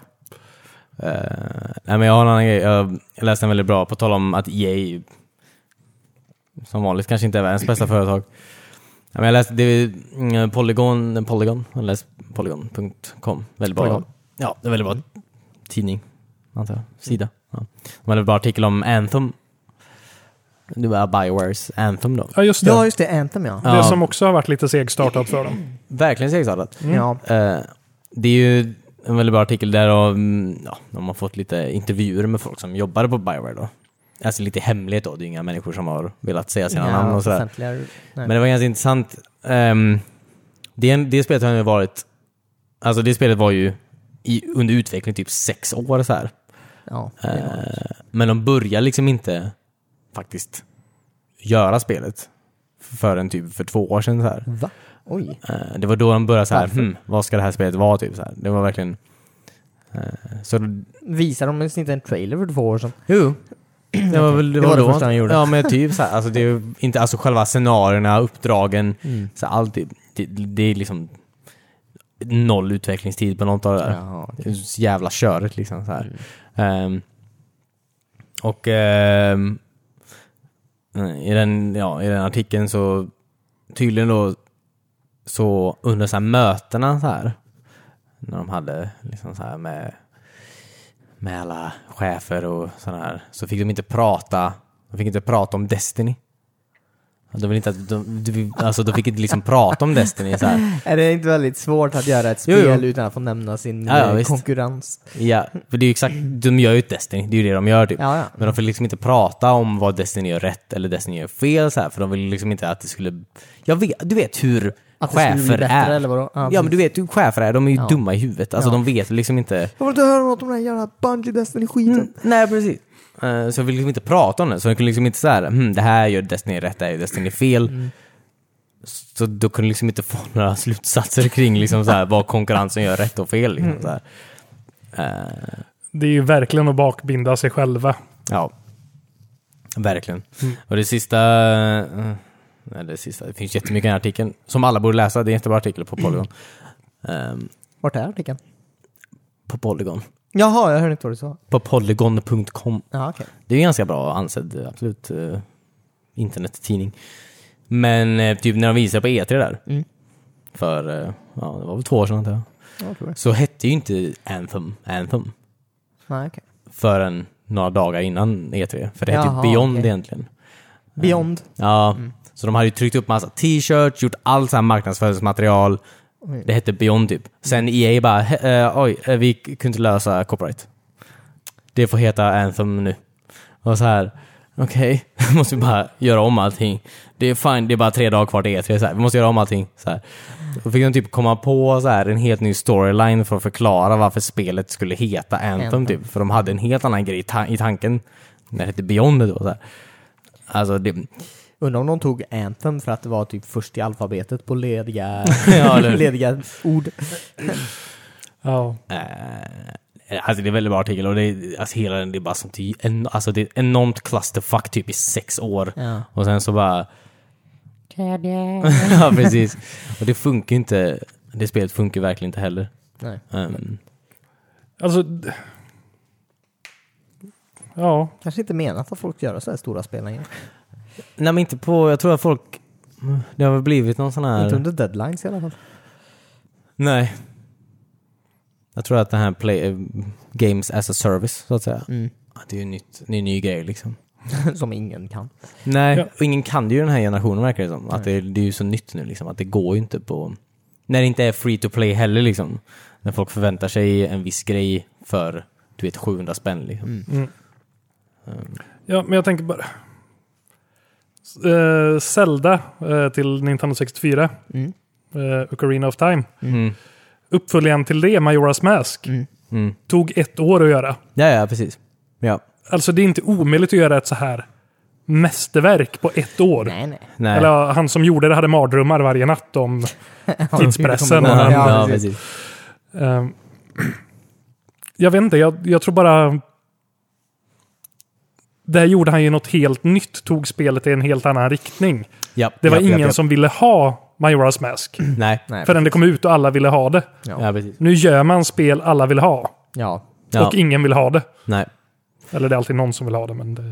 A: Eh, nej, men jag har en annan grej. Jag läste en väldigt bra, på tal om att EA som vanligt kanske inte är världens bästa företag. Ja, men jag läste det är, mm, Polygon, Polygon, jag läste polygon.com. Väldigt bra.
C: Polygon.
A: Ja, det är väldigt bra tidning, antar jag. Sida. Ja. De hade en bra artikel om Anthem. Det var Biowares Anthem då.
B: ja, just det.
C: ja, just det. Anthem ja.
B: Det
A: Ja.
B: som också har varit lite segstartat för dem.
A: Verkligen segstartat.
C: Ja.
A: Eh, det är ju en väldigt bra artikel där och, mm, ja, de har fått lite intervjuer med folk som jobbade på Bioware då. Alltså lite hemlighet då, det är inga människor som har velat säga sina
C: Inga
A: namn och sådär.
C: offentliga- nej.
A: Men det var ganska intressant. Ehm, det, det spelet har ju varit, alltså det spelet var ju i, under utveckling typ sex år så här.
C: Ja, det
A: Eh,
C: var det.
A: men de börjar liksom inte faktiskt göra spelet förrän typ för två år sedan så här.
C: Va? Oj.
A: Eh, Det var då de började så här,
C: Varför?
A: hmm, vad ska det här spelet vara? Typ, så här. Det var verkligen... eh, Så,
C: Visar de ens inte en trailer för två år sedan?
A: jo. Det var väl det,
C: Det var det
A: då.
C: första han gjorde.
A: Ja, men typ så här, alltså, det är ju inte, alltså själva scenarierna, uppdragen, så här, allt. Det, det, det är liksom noll utvecklingstid på något av det där.
C: Jaha,
A: Det är så jävla köret liksom. Så här. Ehm, och ehm, i, den, ja, i den artikeln så tydligen då så under så här mötena så här när de hade liksom så här med med alla chefer och sådana här så fick de inte prata de fick inte prata om Destiny.
E: De vill inte att, de, de, alltså de fick inte liksom prata om Destiny så här.
C: Är det inte väldigt svårt att göra ett
E: Jo,
C: spel
E: jo.
C: utan att få nämna sin
E: Ja, ja,
C: eh,
E: visst.
C: konkurrens?
E: Ja, för det är ju exakt, de gör ju ett Destiny, det är ju det de gör typ.
C: Ja, ja.
E: Men de får liksom inte prata om vad Destiny gör rätt eller Destiny gör fel så här, för de vill liksom inte att det skulle... Jag vet, du vet hur
C: Att det skulle bli
E: chefer
C: bättre,
E: är.
C: eller vadå? Ja,
E: Ja,
C: precis.
E: men du vet hur chefer är, de är ju
C: Ja.
E: dumma i huvudet. Alltså
C: Ja.
E: de vet liksom inte...
C: Jag vill inte höra något om den här jävla bungee destiny skiten
E: Nej, precis. Eh, Så jag vill liksom inte prata om det, så de kunde liksom inte såhär, hm, det här gör Destiny rätt, det här gör Destiny fel.
C: Mm.
E: Så då kunde liksom inte få några slutsatser kring liksom så här, vad konkurrensen gör rätt och fel. Liksom,
C: Mm.
E: så här. Eh,
B: Det är ju verkligen att bakbinda sig själva.
E: Ja. Verkligen.
C: Mm.
E: Och det sista... eh, Nej, det sista. Det finns jättemycket i den här artikeln. Som alla borde läsa. Det är en jättebra artikel på Polygon.
C: Mm.
E: Ehm,
C: Vart är artikeln?
E: på Polygon.
C: Jaha, jag hörde inte vad du sa.
E: På polygon.com.
C: Ja, okej.
E: Det är ju ganska bra ansedd, absolut, eh, internettidning. Men eh, typ när de visade på E3 där.
C: Mm.
E: För, eh, ja, det var väl två år sedan antar jag.
C: Ja, jag tror det.
E: Så hette ju inte Anthem Anthem.
C: Nej, okej.
E: Förrän några dagar innan E3. För det hette ju
C: Jaha,
E: Beyond
C: okej.
E: egentligen.
C: Beyond.
E: Ja, så de hade ju tryckt upp massa t-shirts, gjort allt så här marknadsföringsmaterial. Det hette Beyond typ. Sen EA bara, "He- eh, oj, eh, vi kunde inte lösa copyright. Det får heta Anthem nu. Och så här, okej, måste vi bara göra om allting. Det är fine, det är bara tre dagar kvar till E3, så här. vi måste göra om allting. Så här. Då fick de typ komma på så här, en helt ny storyline för att förklara varför spelet skulle heta Anthem,
C: Anthem.
E: typ. För de hade en helt annan grej i, ta- i tanken när det hette Beyond då. Så här. Alltså, det,
C: Undrar om de tog Anthem för att det var typ först i alfabetet på lediga,
E: Ja, eller hur?
C: lediga ord.
B: Ja.
E: Eh, alltså det är en väldigt bra artikel och det är, alltså hela den, det är bara sånt, en, alltså det är ett enormt clusterfuck typ i sex år.
C: Ja.
E: Och sen så bara... ja, precis. Och det funkar ju inte, det spelet funkar ju verkligen inte heller.
C: Nej.
E: Ehm,
B: Alltså... d- Ja,
C: Kanske inte menat att folk ska göra så här stora spel längre.
E: nej men inte på, jag tror att folk, det har väl blivit någon sån här...
C: Inte under deadlines i alla fall.
E: Nej. Jag tror att den här play, eh, Games as a Service, så att säga,
C: Mm.
E: att det är ju en nytt, ny, ny grej liksom.
C: Som ingen kan.
E: Nej,
B: Ja.
E: och ingen kan det ju i den här generationen verkar det som. Att det, det är ju så nytt nu liksom, att det går ju inte på... När det inte är free to play heller liksom. När folk förväntar sig en viss grej för, du vet, 700 spänn liksom.
B: Mm. Ja, men jag tänker bara... Eh, Zelda eh, till Nintendo 64.
C: Mm.
B: Eh, Ocarina of Time.
E: Mm.
B: Uppföljaren till det, Majora's Mask,
C: Mm.
E: Mm.
B: tog ett år att göra.
E: Ja, ja, precis. Ja.
B: Alltså det är inte omöjligt att göra ett så här mästerverk på ett år.
C: Nej, nej.
E: Nej.
B: Eller ja, han som gjorde det hade mardrömmar varje natt om tidspressen. och
E: ja,
B: han,
E: ja,
C: Ja,
E: precis.
C: precis.
B: eh, jag vet inte, jag, jag tror bara... Där gjorde han ju något helt nytt, tog spelet i en helt annan riktning.
E: Ja,
B: Det var
E: ja, ja,
B: ingen
E: ja.
B: som ville ha Majora's Mask.
E: Nej.
C: nej.
B: Förrän det kom ut och alla ville ha det.
E: Ja, precis.
B: Nu gör man spel alla vill ha.
C: Ja.
E: Ja.
B: Och ingen vill ha det.
E: Nej.
B: Eller det är alltid någon som vill ha det. Men det...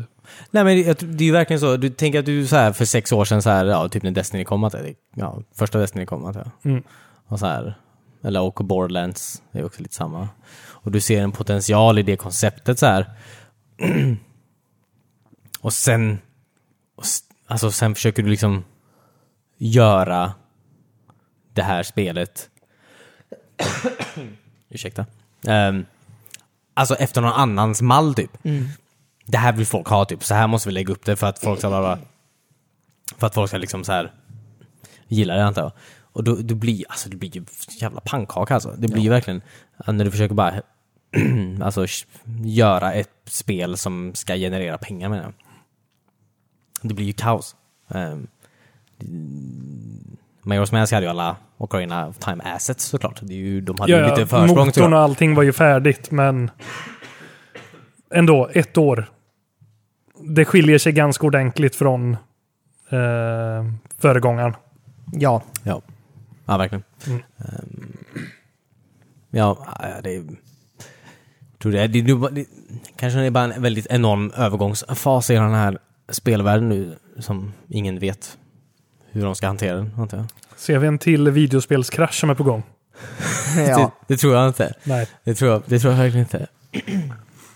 E: Nej men jag tror- det är ju verkligen så, du tänker att du så här för sex år sedan så här, ja typ när Destiny kom att ja, första Destiny kom att jag.
B: Mm.
E: Och så här, eller och Borderlands, det är också lite samma. Och du ser en potential i det konceptet så här. och sen, och, s- alltså sen försöker du liksom göra det här spelet, ursäkta, Ehm, alltså efter någon annans mall typ
B: Mm.
E: det här vill folk ha typ, så här måste vi lägga upp det för att folk ska bara, för att folk ska liksom så här gilla det antar jag. Och då, då blir, alltså det blir ju jävla pannkaka alltså. Det blir ju verkligen, ja, när du försöker bara, alltså sh- göra ett spel som ska generera pengar menar jag. Det blir ju kaos. Um, Majora's Mask hade ju alla Ocarina of Time assets såklart. Det är ju, de hade ju lite försprång tror
B: motorn
E: jag.
B: och allting var ju färdigt, men ändå, ett år. Det skiljer sig ganska ordentligt från eh, föregångaren.
C: Ja.
E: Ja, ja verkligen. Ehm, ja, ja, det är... Tror det, är- det, det, det kanske det är bara en väldigt enorm övergångsfas i den här spelvärlden nu som ingen vet hur de ska hantera den, antar jag.
B: Ser vi en till videospelskrasch som är på gång?
C: ja.
E: Typ. Det, det tror jag inte.
B: Nej.
E: Det tror jag, det tror jag verkligen inte.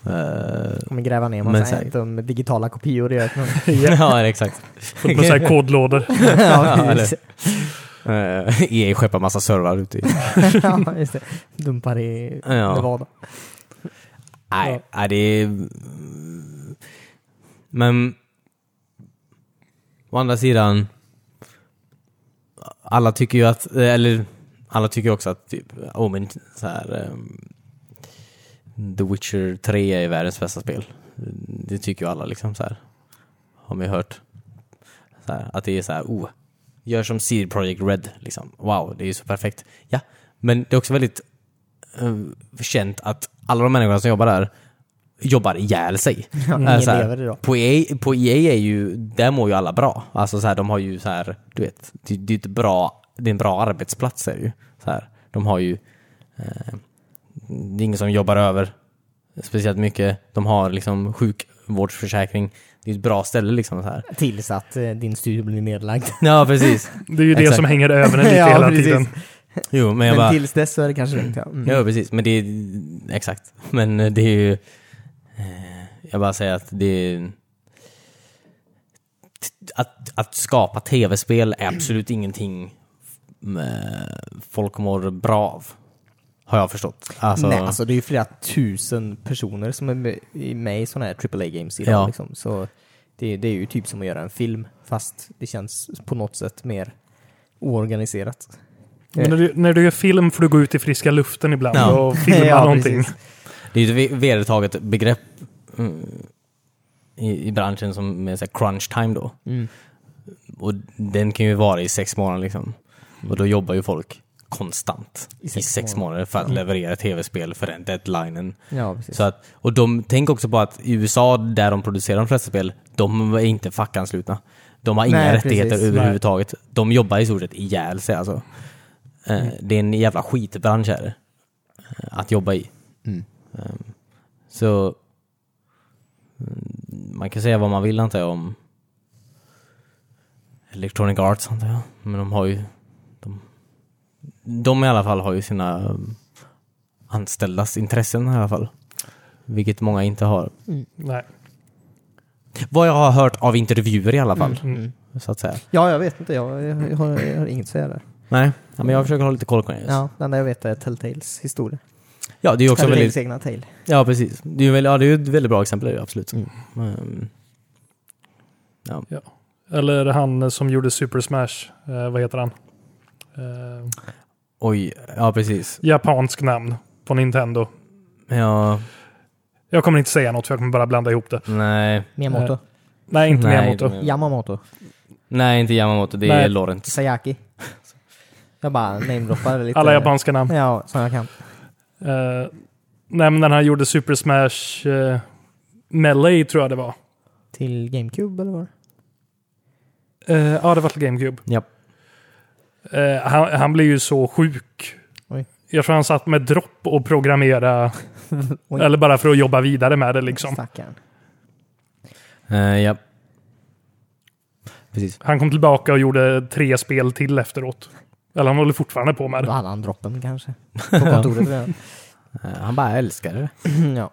E: Eh,
C: Kommer gräva ner
E: Men
C: massa
E: säkert.
C: hämtum med digitala kopior i öknen.
E: ja, exakt.
B: Fullt med så här kodlådor.
E: Ja,
C: just
E: eller- Eh, EA skeppar massa servrar ut i...
C: det. ja, just det. Dumpar i
E: Ja.
C: Nevada.
E: Nej, nej, det är... Men... Å andra sidan... Alla tycker ju att... Eller, alla tycker också att typ... Oh, men så här, ehm, The Witcher 3 är världens bästa spel. Det tycker ju alla liksom så här. Har man ju hört. Så här, att det är så här... Oh, gör som CD Projekt Red liksom. Wow, det är ju så perfekt. Ja, men det är också väldigt eh, känt att alla de människorna som jobbar där jobbar ihjäl sig.
C: Ja,
E: Eh,
C: ingen
E: så här,
C: lever idag.
E: på, EA, på EA är ju, där mår ju alla bra. Alltså så här, de har ju så här, du vet, det, det är ett bra, det är en bra arbetsplats är det ju. Så här, de har ju, eh, det är ingen som jobbar över speciellt mycket. De har liksom sjukvårdsförsäkring. Det är ett bra ställe liksom så här.
C: Tills att eh, din studio blir nedlagd.
E: Ja, precis.
B: Det är ju det
E: Exakt.
B: som hänger över en lite hela
C: precis.
B: tiden.
E: Jo, men jag
C: Men
E: bara...
C: tills dess så är det kanske lugnt ja. Mm.
E: Ja, precis. Men det är, exakt. Men eh, det är ju, eh, jag bara säger att det är, t- att, att skapa tv-spel är absolut ingenting eh, folk mår bra av. Har jag förstått. Alltså,
C: Nej, alltså det är ju flera tusen personer som är med- i- med i sådana här AAA-games idag.
E: Ja.
C: Liksom. Så det, det är ju typ som att göra en film, fast det känns på något sätt mer oorganiserat.
B: Men när, du, när du gör film får du gå ut i friska luften ibland
E: Ja.
B: och filma
C: Ja,
B: någonting.
C: precis.
E: Det är ju ett ve- vedertaget begrepp mm, i, i branschen som är så här crunch time då. Och den kan ju vara i sex månader liksom. Och då jobbar ju folk konstant i sex, månader. Mm. för att leverera ett tv-spel för den deadlinen.
C: Ja, precis.
E: Så att, och de, tänk också på att i USA, där de producerar de flesta spel, de är inte fackanslutna. De har inga
C: Nej,
E: rättigheter
C: precis.
E: överhuvudtaget. De jobbar i stort sett ihjäl sig alltså. Eh,
C: Mm.
E: Det är en jävla skitbransch här eh, att jobba i.
C: Mm.
E: Ehm, Så mm, man kan säga vad man vill antar jag om Electronic Arts antar jag. Men de har ju... De, de i alla fall har ju sina mm, anställdas intressen i alla fall. Vilket många inte har.
B: Nej.
E: Vad jag har hört av intervjuer i alla fall.
C: Mm,
E: Så att säga.
C: Ja, jag vet inte. Jag, jag, jag, har, jag har inget att säga där.
E: Nej, ja, men jag försöker hålla lite koll på det. just.
C: Ja, det enda jag vet är Telltales historia.
E: Ja, det är ju också
C: Telltales
E: väldigt...
C: egna tale.
E: Ja, precis. Det är ju väldigt, ja, det är ju ett väldigt bra exempel, det är det absolut. Mm.
B: Eller han eh, som gjorde Super Smash, eh, vad heter han? Eh,
E: Oj, ja precis.
B: japansk namn på Nintendo.
E: Ja,
B: Jag kommer inte säga något för jag kommer bara blanda ihop det.
E: nej.
C: Miyamoto.
B: Eh, Nej, inte
E: Nej,
B: Miyamoto.
E: inte-
C: Yamamoto.
E: Nej, inte Yamamoto. Det är
B: Nej.
E: Lorentz.
C: Sayaki. Jag bara namedroppar lite.
B: Alla japanska namn.
C: Ja, som jag kan.
B: Eh, nej, men när han gjorde Super Smash uh, Melee tror jag det var.
C: Till GameCube eller vad det
B: Eh, ja, det var till GameCube.
E: Ja.
B: Eh, han, han blev ju så sjuk.
C: Oj.
B: Jag tror han satt med dropp och programmera
C: Oj.
B: Eller bara för att jobba vidare med det
C: var.
B: liksom.
C: Stackarn.
E: Eh, ja. Precis.
B: Han kom tillbaka och gjorde tre spel till efteråt. Eller han håller fortfarande på med
C: Då
B: det.
C: hade han droppen kanske. På kontoret redan.
E: Eh, han bara älskar det.
C: ja.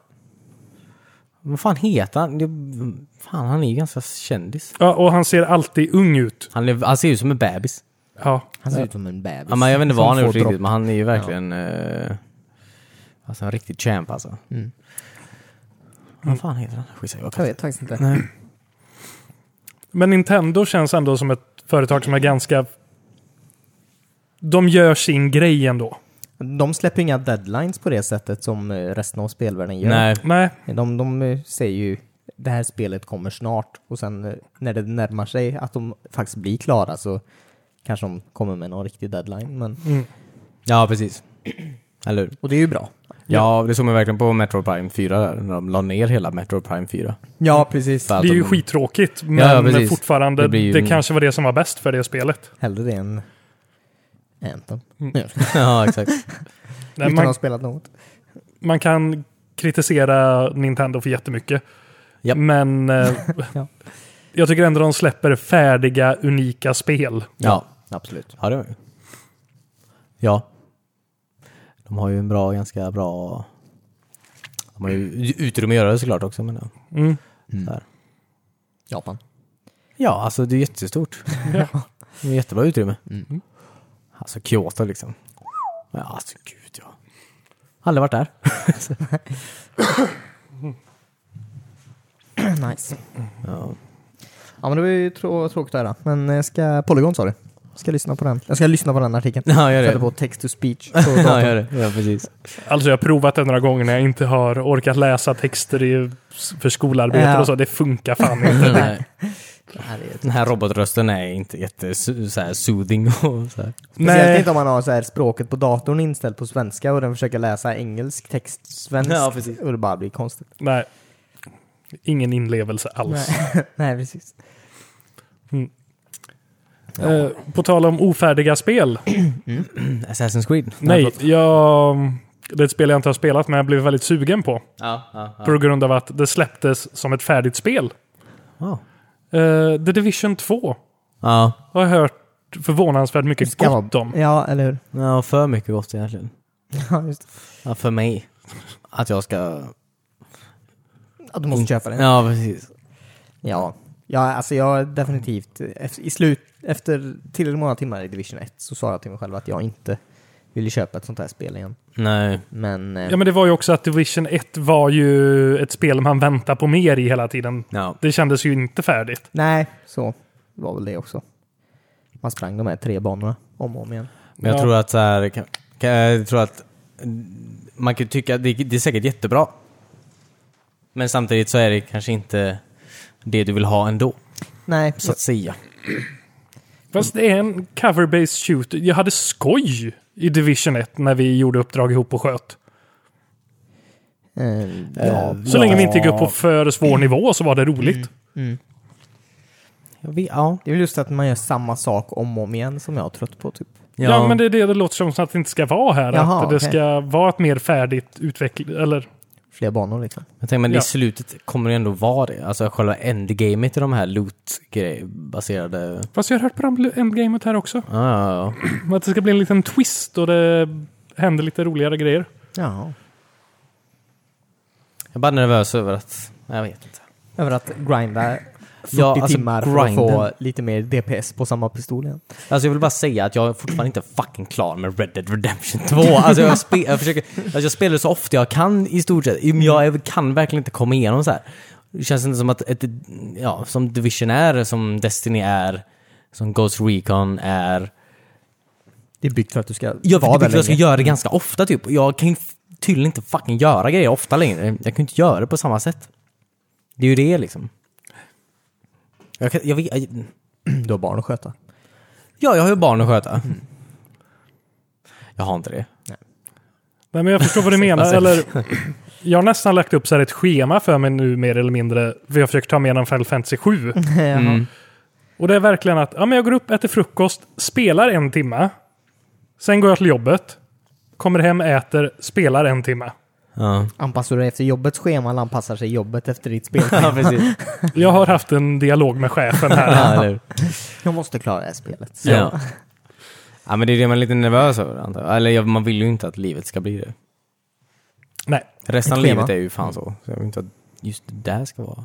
E: Vad fan heter han? Det- Fan, han är ju ganska kändis.
B: Ja, och han ser alltid ung ut.
E: Han, är, han ser ju ut som en bebis.
B: Ja.
C: Han ser ut som en bebis.
E: Ja, men jag vet inte
C: Som
E: vad han har
C: får
E: gjort riktigt,
C: dropp.
E: men han är ju verkligen... eh, alltså en riktig champ alltså.
C: Mm.
E: Vad fan heter han? Skitsamma, jag
C: Jag
E: kan-
C: vet faktiskt inte. Nej.
B: Men Nintendo känns ändå som ett företag som är ganska... De gör sin grej ändå.
C: De släpper inga deadlines på det sättet som eh, resten av spelvärlden gör.
E: Nej,
B: Nej,
C: De, de eh, säger ju det här spelet kommer snart och sen eh, när det närmar sig att de faktiskt blir klara så kanske de kommer med någon riktig deadline. Men,
E: Mm. ja precis. Eller hur?
C: och det är ju bra.
E: Ja, det såg man verkligen på Metro Prime 4 där, när de la ner hela Metro Prime 4.
C: Ja, precis.
E: För att
B: det är ju
E: de-
B: skittråkigt. Men
E: Alltså, mm. Ja, ja, precis.
B: fortfarande,
E: Det
B: det,
E: blir ju-
B: kanske var det som var bäst för det spelet.
C: Hellre det än Anthem. Mm.
E: ja, exakt.
B: Nej,
C: Utan att ha
B: man,
C: spelat något.
B: man kan kritisera Nintendo för jättemycket.
E: Japp.
B: Men eh,
C: Ja.
B: jag tycker ändå de släpper färdiga, unika spel.
E: Ja,
C: Absolut.
E: ja det var ju. Ja. De har ju en bra, ganska bra... De De har ju utrymme att göra det såklart också. Men ja.
B: Mm.
E: Så här.
C: Japan.
E: ja, alltså det är jättestort. det är jättebra utrymme. Mm. Alltså Kyoto liksom. Ja, alltså gud ja. Aldrig varit där.
C: nice.
E: Ja.
C: Ja men det var ju trå- tråkigt att höra. Men jag ska, Polygon sa du. Jag ska lyssna på den. Jag ska lyssna på den artikeln.
E: Ja, gör det.
C: Sätta på text to speech. på datorn.
E: ja, gör det. Ja, precis.
B: Alltså jag har provat det några gånger när jag inte har orkat läsa texter i, för skolarbete
C: Ja.
B: och så. Det funkar fan inte.
E: Den här,
C: Det här är ett-
E: den här robotrösten är inte jätte så här, soothing och så här.
C: Speciellt
B: Nej,
C: inte om man har så här språket på datorn inställt på svenska och den försöker läsa engelsk text svensk.
E: Ja, precis.
C: Och det bara blir konstigt.
B: nej. Ingen inlevelse alls.
C: Nej, precis.
B: Eh, på tal om ofärdiga spel.
E: Assassin's Creed.
B: Nej, jag, det är ett spel jag inte har spelat men jag blev väldigt sugen på.
E: Ja, ja, ja.
B: På grund av att det släpptes som ett färdigt spel.
E: Wow.
B: Eh, The Division 2
E: Ja,
B: har jag hört förvånansvärt mycket
C: Ska
B: gott om.
C: Ja, eller hur?
E: ja, för mycket gott egentligen.
C: Ja, just det.
E: Ja, för mig. Att jag ska...
C: Att du måste köpa den.
E: Mm. Ja, precis.
C: Ja. Ja, alltså jag definitivt, ef- i slut, efter tillräckligt många timmar i Division 1 så sa jag till mig själv att jag inte ville köpa ett sånt här spel igen.
E: Nej.
C: Men, eh,
B: Ja, men det var ju också att Division 1 var ju ett spel man väntar på mer i hela tiden.
E: Ja.
B: Det kändes ju inte färdigt.
C: nej, så var väl det också. Man sprang de här tre banorna om och om igen.
E: Men jag
B: Ja.
E: tror att så här, kan, kan, jag tror att man kan tycka att det, det är säkert jättebra. Men samtidigt så är det kanske inte det du vill ha ändå,
C: Nej,
E: så att säga.
B: Fast det är en cover-based shooter. Jag hade skoj i Division 1 när vi gjorde uppdrag ihop och sköt.
C: eh, ja.
B: Så länge vi inte gick upp på för svår nivå så var det roligt.
C: Mm.
E: Jag vet, ja.
C: Det är väl just att man gör samma sak om och om igen som jag är trött på typ.
B: Ja. men det är det det låter som att det inte ska vara här.
C: Jaha,
B: att det
C: okej.
B: ska vara ett mer färdigt utveckling. Eller
C: Fler banor liksom.
E: Jag tänker, men i
B: Ja.
E: slutet kommer det ändå vara det. Alltså själva endgamet i de här loot-baserade...
B: Fast jag har hört på det här endgamet här också.
E: Ja, ja, ja.
B: Att det ska bli en liten twist och det händer lite roligare grejer.
C: Jaha.
E: Jag är bara nervös över att... Nej, Jag vet inte.
C: Över att grinda 40
E: Ja, alltså,
C: timmar för att
E: grinden.
C: få lite mer DPS på samma pistol igen.
E: Alltså jag vill bara säga att jag är fortfarande inte fucking klar med Red Dead Redemption 2. Alltså jag, spe, jag försöker, alltså jag spelar så ofta jag kan i stort sett. Men jag är- kan verkligen inte komma igenom så här. Det känns inte som att ett, ja, som Division är, som Destiny är, som Ghost Recon är.
C: Det är byggt för att du ska
E: Jag
C: vara
E: vet
C: där
E: inte, jag ska
C: länge.
E: göra det ganska ofta typ. Jag kan ju f- tydligen inte fucking göra grejer ofta längre. Jag kan ju inte göra det på samma sätt. Det är ju det liksom. Jag kan, jag vet,
C: Du har barn att sköta.
E: ja, jag har ju barn att sköta. Jag har inte det.
B: Nej, men jag förstår vad du
E: Alltså,
B: menar. eller, jag har nästan lagt upp så här ett schema för mig nu mer eller mindre. För jag försöker ta med en Final Fantasy 7.
C: Jaha.
B: Och det är verkligen att ja, men jag går upp, äter frukost, spelar en timma. Sen går jag till jobbet. Kommer hem, äter, spelar en timma.
E: Ja.
C: Anpassar du dig efter jobbets schema eller anpassar sig jobbet efter ditt spel?
E: ja, precis.
B: Jag har haft en dialog med chefen här.
E: Ja, eller hur?
C: jag måste klara det här spelet. Så.
E: ja. ja, men det är det man är lite nervös över, antar jag. Eller ja, man vill ju inte att livet ska bli det.
B: Nej,
E: Resten av
C: Ett schema.
E: livet är ju fan så. Så jag vill inte att just det där ska vara.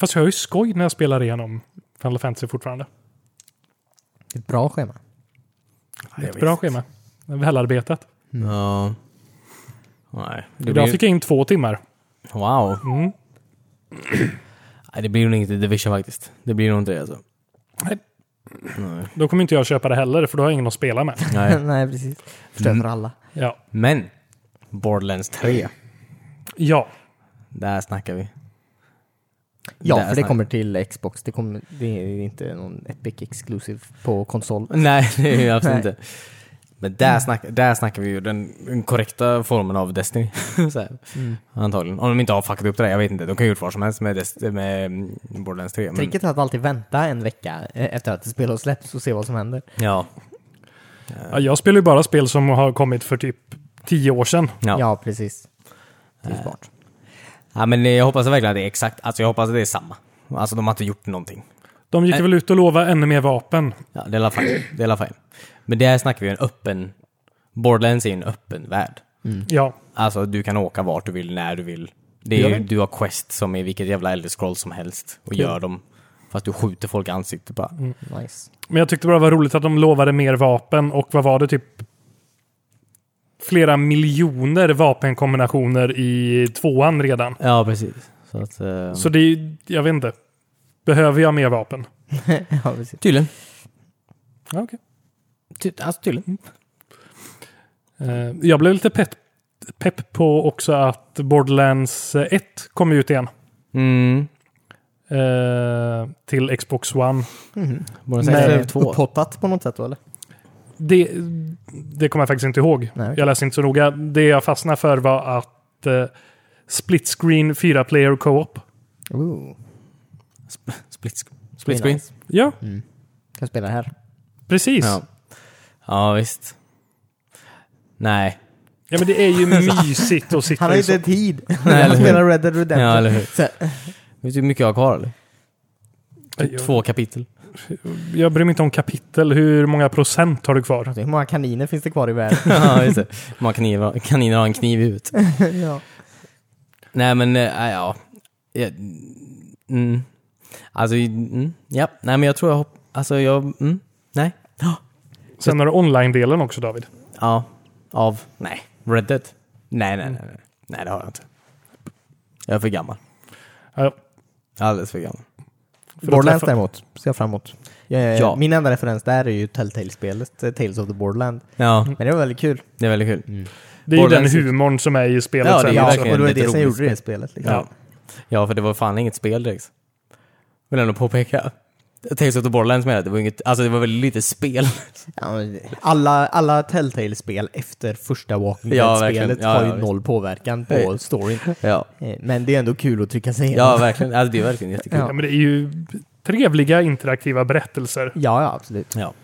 B: fast jag har ju skoj när jag spelar igenom Final Fantasy fortfarande.
C: Ett bra schema.
B: Ett bra schema. Välarbetat.
E: Ja. Nej. Det blir
B: Idag
E: ju...
B: fick jag in två timmar.
E: Wow.
B: Mm.
E: Nej, det blir nog inte Division faktiskt. Det blir nog inte det alltså.
B: Nej.
E: Nej.
B: Då kommer inte jag köpa det heller, för då har jag ingen att spela med.
E: Nej.
C: Nej, precis. Förstör för alla.
B: Ja.
E: Men, Borderlands 3.
B: ja.
E: Där snackar vi.
C: Ja,
E: Där
C: för det
E: snackar-
C: kommer till Xbox. Det, kommer, det är inte någon Epic Exclusive på konsol.
E: Nej, det är ju absolut
C: Nej.
E: inte. Men där, snack, där snackar vi ju den, den korrekta formen av Destiny. så här.
C: Mm.
E: Antagligen. Om de inte har fuckat upp det där, jag vet inte. De kan ju gjort vad som helst med, Dest- med mm, Borderlands 3. Men,
C: Tricket är att alltid vänta en vecka eh, efter att spelet släpps och se vad som händer.
E: ja,
B: Ja, jag spelar ju bara spel som har kommit för typ tio år sedan.
E: ja. Eh.
C: Ja,
E: Ja.
C: precis. Det är smart.
E: men jag hoppas verkligen att det är exakt, alltså jag hoppas att det är samma. Alltså de har inte gjort någonting.
B: De gick väl ut och lovade ännu mer vapen.
E: Ja, det är alla fine. Det är alla fine. Men där snackar vi ju en öppen, Borderlands är ju en öppen värld.
B: Ja,
E: Alltså du kan åka vart du vill, när du vill. Det är
C: Gör
E: ju,
C: det?
E: du har quest som är vilket jävla elder scroll som helst och
B: Ja.
E: gör dem. Fast du skjuter folk i ansiktet bara.
C: Mm. Nice.
B: Men jag tyckte bara det var roligt att de lovade mer vapen och vad var det typ? Flera miljoner vapenkombinationer i tvåan redan.
E: Ja, precis. Så att, eh,
B: Så det är ju- jag vet inte. Behöver jag mer vapen?
C: ja, precis.
E: tydligen.
B: Ja, okej.
E: Ty, alltså tydligen.
B: Eh, Jag blev lite pepp, pepp på också att Borderlands 1 kom ut igen.
E: Mm.
B: eh, Till Xbox One.
E: Borde
B: Nej,
E: säga
B: det
E: det
B: är
E: är två.
C: Upphottat på något sätt då eller?
B: Det, det kommer jag faktiskt inte ihåg.
C: Nej, okej.
B: Jag läste inte så noga. Det jag fastnade för var att eh, split screen 4 player co-op.
C: Ooh,
E: Split, sc- split screen.
C: nice.
B: Ja,
C: Kan spela här.
B: precis.
E: Ja. ja, visst. Nej.
B: Ja, men det är ju mysigt att sitta
C: Han har
B: i
C: ju
B: så.
C: inte tid.
E: Nej,
C: Han
E: eller hur?
C: spelar Red Dead Redemption.
E: Ja, eller hur?
C: Så,
E: Vet du hur mycket jag har kvar eller?
B: Nej, jag-
E: Två kapitel.
B: Jag bryr mig inte om kapitel. Hur många procent har du kvar?
C: hur många kaniner finns det kvar i världen?
E: ja, just det. Man kaniner, kaniner har en kniv ut.
C: ja.
E: Nej men, eh, ja. ja. Mm. Alltså, mm. ja. Nej men jag tror jag hopp... Alltså jag, mm. Nej.
B: Sen har du online-delen också David.
E: Ja. Av? Nej. Red Dead? Nej, nej, nej. Nej, nej det har jag inte. Jag är för gammal.
B: Ja,
E: Alldeles för gammal.
B: att
C: Borderlands
B: träffa-
C: däremot ser jag fram emot. Jag, eh,
E: Ja.
C: Min enda referens där är ju Telltale-spelet eh, Tales of the Borderland.
E: Ja,
C: Men det var väldigt kul.
E: det är väldigt kul.
B: det är ju den
E: Borderlands-
B: humorn som är i spelet.
E: Ja,
B: sen
E: det är ju
B: också.
E: verkligen
C: och det var
E: ett
C: det som
E: roligt
C: gjorde det spelet. Liksom.
B: Ja.
E: Ja, för det var fan inget spel direkt. Vill ändå påpeka. Tales of the Borderlands menar jag, det var inget, alltså det var väldigt lite spel.
C: Ja, men Alla, alla Telltale-spel efter första Walking
E: Ja,
C: Dead-spelet
E: verkligen. Ja,
C: har
E: ja,
C: ju
E: visst.
C: noll påverkan på
E: Nej.
C: storyn.
E: Ja,
C: Eh, Men det är ändå kul att trycka sig
E: ja
C: igenom.
E: verkligen. Alltså det är verkligen jättekul.
B: Ja. men det är ju trevliga interaktiva berättelser.
C: Ja, ja, absolut.
E: Ja. Nej,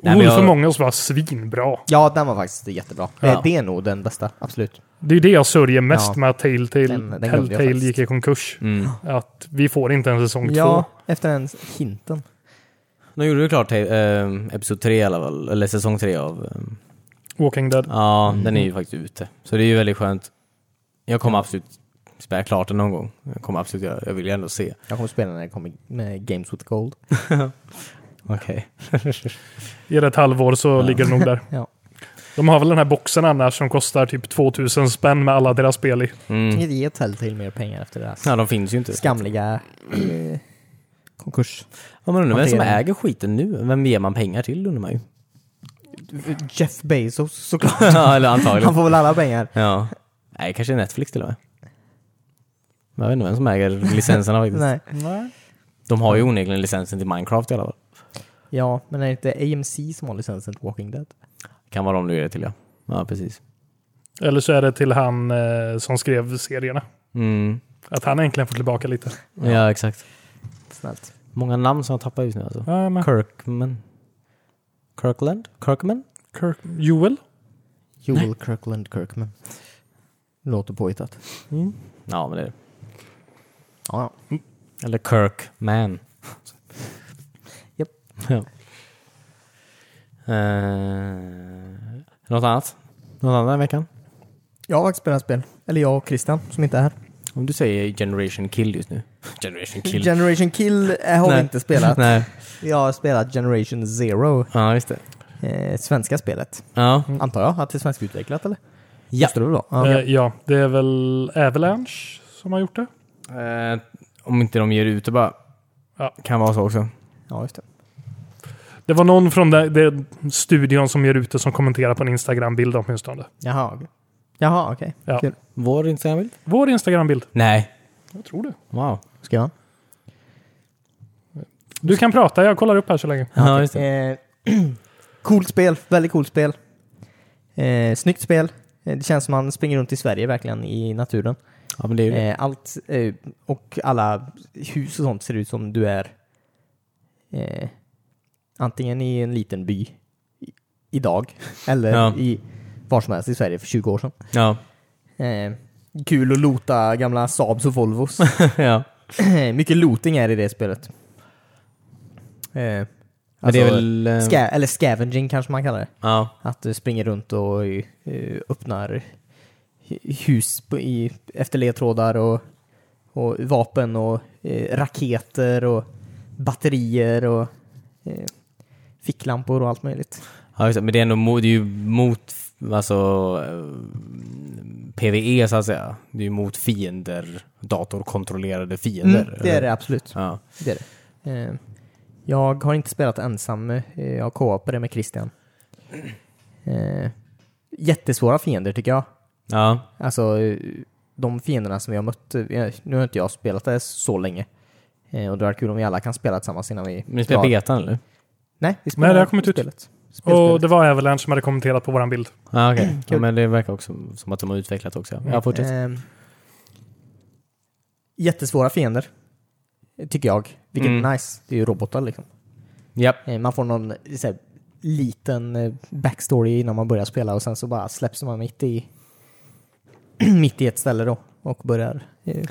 E: men
B: Wolf
E: jag-
B: Among Us var svinbra.
C: Ja, den var faktiskt jättebra.
E: Ja.
C: Eh, Det är nog den bästa, absolut.
B: Det är ju det jag sörjer mest
C: Ja.
B: med att Telltale,
C: Den- den glömde jag
B: Telltale
C: faktiskt.
B: gick i konkurs.
E: Mm.
B: Att vi får inte en säsong
C: Ja,
B: två.
C: efter den hinten.
E: Nu gjorde du klart eh, Episod 3 i alla fall, eller säsong 3 av... Eh,
B: Walking Dead.
E: ja, den är ju faktiskt ute. Så det är ju väldigt skönt. Jag kommer absolut spela klart den någon gång. Jag kommer absolut göra Jag vill ju ändå se.
C: Jag kommer spela när det kommer med Games with Gold.
E: Okej.
B: Ger det ett halvår så ligger det nog där.
C: Ja.
B: De har väl den här boxen annars som kostar typ 2000 spänn med alla deras spel i.
E: Mm.
C: Tänker inte ge Telltale mer pengar efter deras
E: Ja, de finns ju inte.
C: skamliga eh, konkurs.
E: Ja, man undrar vem som
C: Hantering.
E: äger skiten nu? Vem ger man pengar till undrar man ju.
C: Jeff Bezos såklart.
E: Ja, eller
C: Han
E: antagligen.
C: får väl alla pengar.
E: Ja. Nej, kanske Netflix till och med. Jag vet inte vem som äger licenserna faktiskt.
C: Nej.
E: De har ju onekligen licensen till Minecraft i alla fall.
C: Ja, men är det inte AMC som har licensen till Walking Dead?
E: Kan vara de du ger det till ja. Ja, precis.
B: Eller så är det till han eh, som skrev serierna.
E: Mm.
B: Att han äntligen får tillbaka lite.
E: Ja. exakt.
C: Snällt.
E: Många namn som jag tappar just nu alltså.
B: Ja, men
E: Kirkman. Kirkland? Kirkman?
B: Kirk, Joel?
C: Joel Kirkland Kirkman. Låter påhittat.
E: Ja, men det är det.
C: Ja, ja.
E: Eller Kirkman.
C: Japp.
E: Ja. Eh, något annat? Något annat i veckan?
C: Jag har faktiskt spelat spel. Eller jag och Christian som inte är här.
E: Om du säger Generation Kill just nu. Generation Kill.
C: Generation Kill eh, har vi
E: Nej.
C: inte spelat.
E: Nej.
C: Jag har spelat Generation Zero.
E: Ja, just det.
C: Eh, svenska spelet.
E: Ja.
C: Antar jag att det är svenskutvecklat eller?
E: Ja.
C: Måste det väl vara?
B: Eh,
C: Ja.
B: ja, det är väl Avalanche som har gjort det.
E: Eh, om inte de ger ut det bara.
B: Ja.
E: Kan vara så också.
C: ja, just det.
B: Det var någon från den, den studion som ger ut det som kommenterar på en Instagram-bild åtminstone.
C: Jaha, okej. Jaha, okej.
B: Ja.
C: Kul.
E: Vår Instagram-bild?
B: Vår Instagram-bild.
E: Nej.
B: Jag tror det.
E: Wow.
C: Ska jag?
B: Du kan prata, jag kollar upp här så länge.
E: Ja, just det.
C: Eh, coolt spel, väldigt coolt spel. Eh, snyggt spel. Eh, Det känns som man springer runt i Sverige verkligen i naturen.
E: Ja, men det är ju det.
C: Eh, allt eh, och alla hus och sånt ser ut som du är eh, antingen i en liten by i- idag eller
E: Ja.
C: i var som helst i Sverige för 20 år sedan.
E: Ja.
C: Eh, kul att lota gamla Saabs och Volvos.
E: ja.
C: Mycket looting är det i det spelet. Eh,
E: Men det är
C: alltså-
E: väl... eh,
C: Ska eller scavenging kanske man kallar det.
E: Ja.
C: Att du springer runt och eh, öppnar hus på, i, efter ledtrådar och, och vapen och eh, raketer och batterier och eh, ficklampor och allt möjligt.
E: Ja, just det. Men det är, ändå, mo- det är ju mot alltså, eh, PVE så att säga. Det är ju mot fiender, datorkontrollerade fiender.
C: Mm, det är det absolut.
E: Ja.
C: Det är det. Eh, jag har inte spelat ensam, eh, jag har co-opat det med Christian. Eh, jättesvåra fiender tycker jag.
E: ja.
C: Alltså eh, de fienderna som vi har mött, eh, nu har inte jag spelat det så länge. Eh, och det var kul om vi alla kan spela tillsammans innan vi...
E: Men ni spelar
C: drar.
E: betan eller?
C: Nej, vi spelar
B: Nej, det har kommit ut.
C: spelet.
B: Och
C: Spelspelet.
B: det var Avalanche som hade kommenterat på våran bild.
E: Ja, okej. Ja,
C: Mm, Kul.
E: men det verkar också som att de har utvecklat också. Ja, fortsätt.
C: Ehm, jättesvåra fiender. Tycker jag. Vilket
E: Mm.
C: är nice. Det är ju robotar liksom.
E: Japp.
C: Eh, Man får någon så här, liten eh, backstory innan man börjar spela och sen så bara släpps man mitt i mitt i ett ställe då och börjar eh,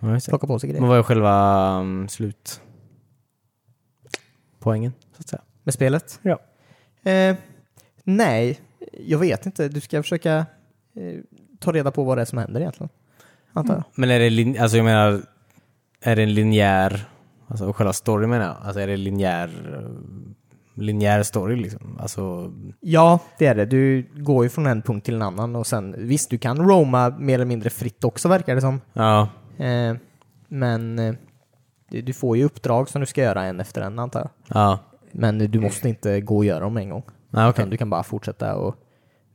E: Ja, just det.
C: plocka på sig
E: Men
C: grejer.
E: vad är själva um, slutpoängen? Så att säga.
C: Med spelet?
B: Ja.
C: Eh, nej, jag vet inte. Du ska försöka eh, ta reda på vad det är som händer egentligen. Antar jag.
E: Men är det, lin- alltså jag menar, är det en linjär, alltså själva storyn menar jag, alltså är det linjär, eh, linjär story liksom? Alltså,
C: Ja, det är det. Du går ju från en punkt till en annan och sen visst, du kan roama mer eller mindre fritt också verkar det som.
E: ja,
C: Eh, men eh, du, du får ju uppdrag som du ska göra en efter en antar jag.
E: ja,
C: Men du måste inte gå och göra dem en gång.
E: ja okej.
C: Utan du kan bara fortsätta och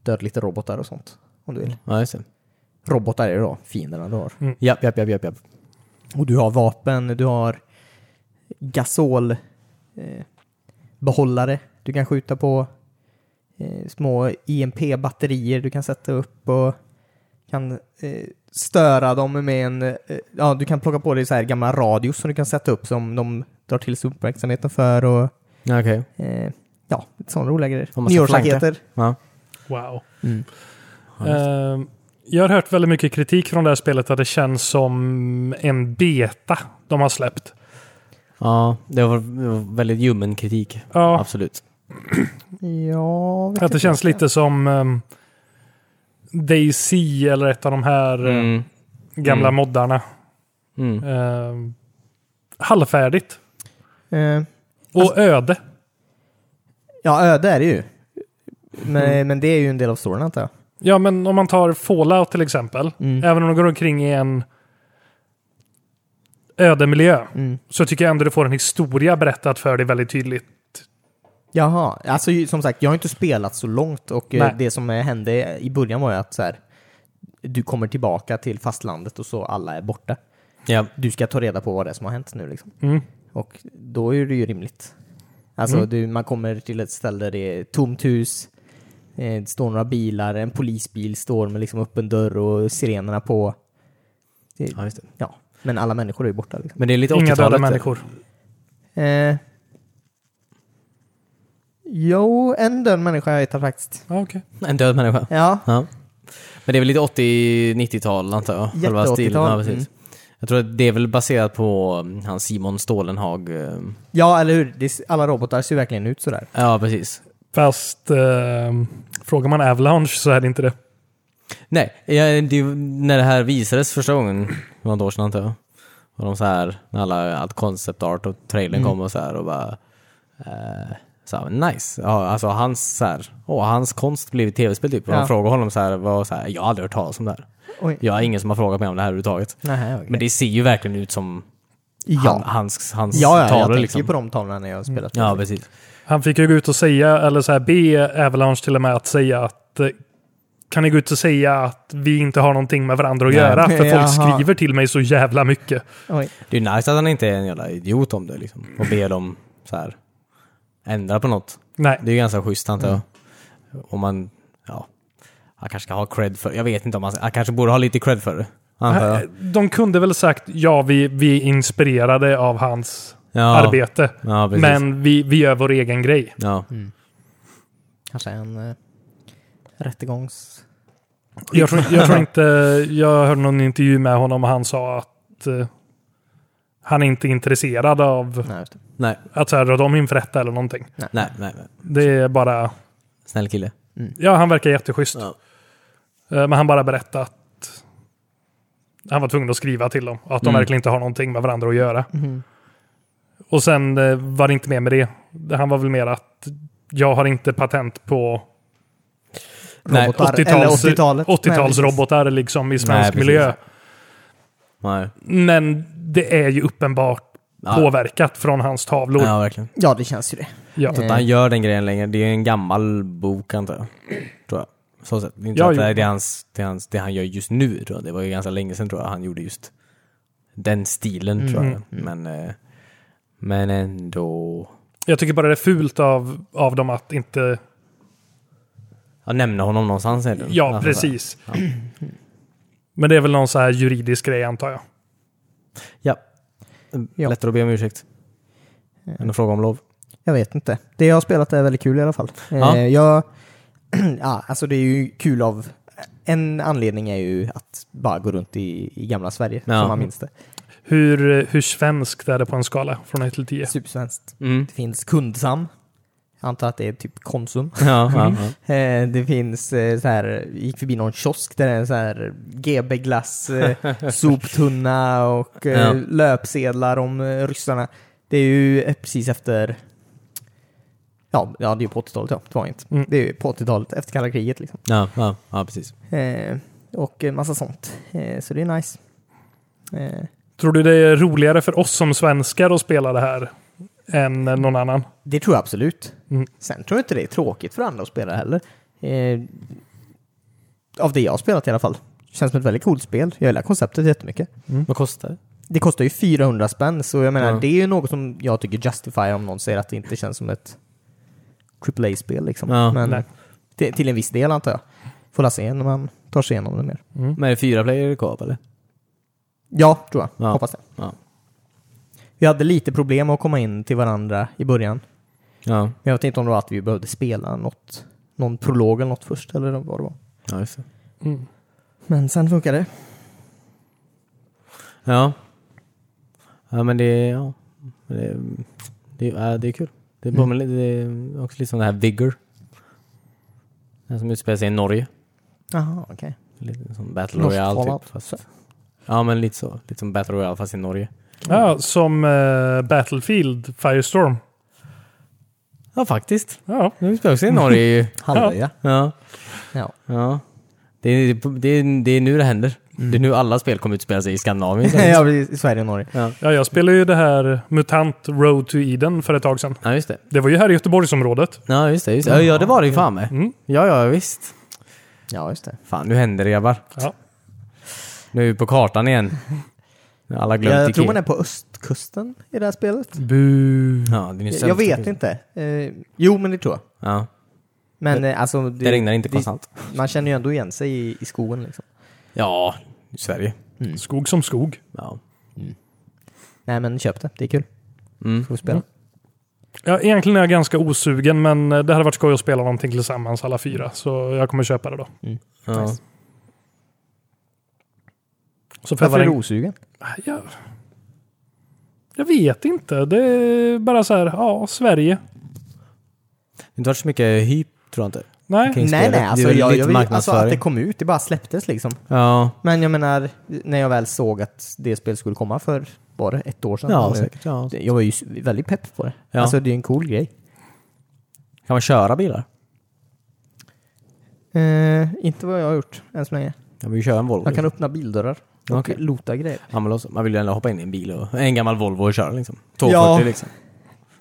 C: döda lite robotar och sånt. Om du vill.
E: Ja, just det.
C: Robotar är det då, fienderna du har.
E: Mm. Japp, japp, japp, japp, japp.
C: Och du har vapen, du har gasol eh, behållare du kan skjuta på. Eh, små IMP-batterier du kan sätta upp och kan eh, störa dem med en... Eh, ja, du kan plocka på dig så här gamla radios som du kan sätta upp som de drar till sig uppmärksamheten för och
E: Ja, okej.
C: eh, ja, lite sådana roliga grejer.
E: Om man ska
C: Nyårsraketer.
E: Ja.
B: Wow.
C: Mm.
B: Eh, jag har hört väldigt mycket kritik från det här spelet att det känns som en beta de har släppt.
E: ja, det var det var väldigt ljummen kritik.
B: Ja,
E: Absolut.
C: Ja, vet
B: att det
C: inte.
B: känns lite som um, DayZ eller ett av de här eh,
E: Mm.
B: gamla
E: Mm.
B: moddarna.
E: Mm.
B: Eh, halvfärdigt.
C: Eh,
B: Och öde.
C: ja, öde är det ju.
E: Mm.
C: Men, men det är ju en del av storyn antar jag.
B: Ja, men om man tar Fallout till exempel.
C: Mm.
B: Även om de går omkring i en ödemiljö.
C: Mm.
B: Så tycker jag ändå du får en historia berättad för dig väldigt tydligt.
C: Jaha, alltså ju- som sagt, jag har inte spelat så långt och eh,
B: Nej.
C: det som eh, hände i början var ju att så här, du kommer tillbaka till fastlandet och så alla är borta.
E: Ja.
C: Du ska ta reda på vad det är som har hänt nu liksom.
B: Mm.
C: Och då är det ju rimligt. Alltså du, man kommer till ett ställe där det är tomt hus, eh, det står några bilar, en polisbil står med liksom öppen dörr och sirenerna på. Det,
E: ja, just det.
C: ja, men alla människor är ju borta liksom.
E: Men det är lite
B: Inga
E: 80-talet.
B: döda
E: där.
B: människor.
C: Eh, jo, en död människa har jag hittat faktiskt.
B: Ja, Ah, okej.
E: En död människa.
C: Ja,
E: Ja. Men det är väl lite 80-90-tal antar jag?
C: Jätte-
E: Själva stilen.
C: 80-tal,
E: Ja, precis. Jag tror att det är väl baserat på mm, han Simon Stålenhag. eh,
C: ja eller hur? Det, alla robotar ser ju verkligen ut sådär.
E: Ja, precis.
B: Fast eh, frågar man Avalanche så är det inte det.
E: Nej, jag, det, när det här visades första gången, det var något år sedan antar jag. Var de så här, när alla, allt concept art och trailern
C: Mm.
E: kom och så här och bara... Eh, så här, nice. Ja, alltså hans, så här, åh, hans konst blev ett tv-spel typ. Och
C: Ja.
E: de frågade honom så här, var så här, jag har aldrig hört talas om det här.
C: Oj.
E: Jag har ingen som har frågat mig om det här överhuvudtaget.
C: Nähä, okej.
E: Men det ser ju verkligen ut som han,
C: ja.
E: hans, hans
C: Ja, ja, jag
E: tavlor
C: tänker
E: liksom. Mm.
C: ju på de tavlorna när jag har spelat.
E: Ja, precis.
B: Han fick ju gå ut och säga, eller så här, be Avalanche till och med att säga att eh, kan ni gå ut och säga att vi inte har någonting med varandra att
E: Nej.
B: göra? För folk
C: Jaha.
B: skriver till mig så jävla mycket.
C: Oj.
E: Det är nice att han inte är en jävla idiot om det liksom. Och ber dem så här ändra på något.
B: Nej,
E: Det är ju ganska schysst antar jag.
B: Mm.
E: Om man, ja. Han kanske ska ha cred för Jag vet inte om han, han kanske borde ha lite cred för det. Antar jag.
B: Eh, de kunde väl sagt ja, vi, vi är inspirerade av hans
E: Ja.
B: arbete.
E: Ja, precis.
B: Men vi, vi gör vår egen grej.
E: Ja.
C: Kanske en eh, rättegångs...
B: Jag tror, jag tror inte, jag hörde någon intervju med honom och han sa att eh, han är inte intresserad av
C: Nej, just det.
E: Nej.
B: att så här, dra dem inför rätta eller någonting.
E: Nej, nej, nej.
B: Det är bara
E: Snäll kille.
B: Ja, han verkar jätteschysst.
E: Ja.
B: Eh, Men han bara berättade att han var tvungen att skriva till dem. Att de verkligen inte har någonting med varandra att göra. Och sen eh, var det inte mer med det. Han var väl mer att jag har inte patent på
E: Nej,
C: Robotar, eller
B: 80-tals,
C: 80-talet.
B: 80-talsrobotar liksom i svensk
E: precis.
B: miljö.
E: Nej.
B: Men det är ju uppenbart
E: Ja.
B: påverkat från hans tavlor. Ja.
E: Ja, verkligen.
C: Ja, det känns ju det. Eh,
E: Så att
B: Mm.
E: han gör den grejen längre. Det är ju en gammal bok antar jag. Tror jag. Så sett. Det är inte
B: Ja,
E: att det
B: jo.
E: är det, hans, det, är hans, det han gör just nu tror jag. Det var ju ganska länge sedan tror jag han gjorde just den stilen tror
B: Mm.
E: jag. Men, eh, men ändå.
B: Jag tycker bara det är fult av, av dem att inte...
E: Jag nämner honom någonstans Alltså, eller?
B: Ja, precis. Men det är väl någon så här juridisk grej antar jag.
E: Ja.
C: Ja.
E: Lättare att be om ursäkt. Än att fråga om lov.
C: Jag vet inte. Det jag har spelat är väldigt kul i alla fall.
E: Ja.
C: Eh, jag, ja, alltså det är ju kul av... En anledning är ju att bara gå runt i, i gamla Sverige,
E: Ja.
C: som man minns det.
B: Hur, hur svenskt är det på en skala från 1 till 10?
C: Supersvenskt.
E: Mm.
C: Det finns Kundsam. Jag antar att det är typ Konsum.
E: Ja, ja, ja.
C: Eh, Det finns eh, så här, gick förbi någon kiosk där det är en så här GB glass, eh, soptunna och eh,
E: Ja.
C: löpsedlar om eh, ryssarna. Det är ju eh, precis efter, ja, ja det är ju på 80-talet ja, det var inte.
B: Mm.
C: Det är ju på 80-talet, efter kalla kriget liksom.
E: ja, ja, ja, precis.
C: Eh, Och eh, massa sånt. Eh, Så det är nice. Eh,
B: Tror du det är roligare för oss som svenskar att spela det här än någon annan?
C: Det tror jag absolut.
B: Mm.
C: Sen tror jag inte det är tråkigt för andra att spela heller. Eh, av det jag har spelat i alla fall. Känns som ett väldigt coolt spel. Jag gillar konceptet jättemycket.
E: Vad kostar det?
C: Det kostar ju 400 spänn, så jag menar,
E: Ja.
C: det är ju något som jag tycker justify om någon säger att det inte känns som ett AAA-spel liksom.
E: Ja,
B: nej.
C: Men till, till en viss del antar jag. Får la se när man tar sig igenom det mer.
E: Men är det fyra player kvar eller?
C: Ja, tror jag.
E: Ja.
C: Hoppas det.
E: Ja.
C: Vi hade lite problem att komma in till varandra i början.
E: Ja,
C: Men jag vet inte om det var att vi behövde spela något, någon prolog eller något först, eller vad det var.
E: ja just det.
C: Men sen funkar det.
E: Ja. Ja men det, ja. Men Det, det, ja, det är kul. Det är, mm. det är också lite som det här Vigor. Den som utspelar sig i Norge.
C: Jaha, okej.
E: Lite som Battle
C: Norskt
E: Royale
C: Fallout.
E: typ. Fast, ja men lite så. Lite som Battle Royale fast i Norge.
B: Ja, som eh, Battlefield Firestorm.
E: Ja faktiskt.
B: Ja.
E: Nu utspelar sig i Norge ju.
C: Halvöja.
E: Ja.
C: Ja.
E: ja. Mm. Det, är, det, är, det är nu det händer. Det är nu alla spel kommer utspela sig i Skandinavien.
C: Ja. ja, precis. i Sverige och Norge.
B: ja, jag spelade ju det här MUTANT Road to Eden för ett tag sedan.
E: Ja just det.
B: Det var ju här i Göteborgsområdet.
E: Ja just det. Just det. Ja, Ja det var det ju fan med. Ja ja visst.
C: Ja, just det.
E: Fan nu händer det grabbar.
B: Ja.
E: Nu är vi på kartan igen. Nu har Alla glömt
C: Jag tror
E: Ikea.
C: man är på östkusten i det här spelet.
E: Bu. Ja, det är ju
C: Jag
E: sämst.
C: vet inte. Eh, jo, men det tror jag.
E: Ja,
C: Men eh, alltså...
E: det, regnar inte konstant.
C: Man känner ju ändå igen sig i, i skogen liksom.
E: Ja, i Sverige.
B: Skog som skog.
E: Ja.
C: Nej, men köp det. Det är kul.
E: Mm.
C: Ska vi spela?
B: Ja, egentligen är jag ganska osugen, men eh, det hade varit skoj att spela någonting tillsammans alla fyra. Så jag kommer köpa det då.
E: Mm. Ja.
C: Nice.
B: Så får jag
C: Varför
B: vara
C: är du
B: en...
C: osugen?
B: jag... jag vet inte. Det är bara så här, ja, Sverige.
E: Det har inte varit så mycket hype, tror jag inte.
B: Nej,
E: Kring
C: Nej,
E: spelet.
C: nej. Alltså,
E: det är väl
C: jag,
E: lite
C: jag vill, alltså att
E: marknadsföring.
C: det kom ut. Det bara släpptes liksom.
E: Ja,
C: Men jag menar, när jag väl såg att det spelet skulle komma för, var det ett år sedan?
E: ja
C: Eller-
E: säkert. Ja.
C: Det- Jag var ju s- väldigt pepp på det.
E: Ja.
C: Alltså det är en cool grej.
E: Kan man köra bilar?
C: Eh, inte vad jag har gjort än så länge.
E: Jag vill ju köra en Volvo.
C: Jag kan öppna bildörrar och
E: Okej.
C: lota grejer.
E: Ja, men också. Man vill ju ändå hoppa in i en bil och en gammal Volvo och köra liksom. 240
C: Ja.
E: liksom.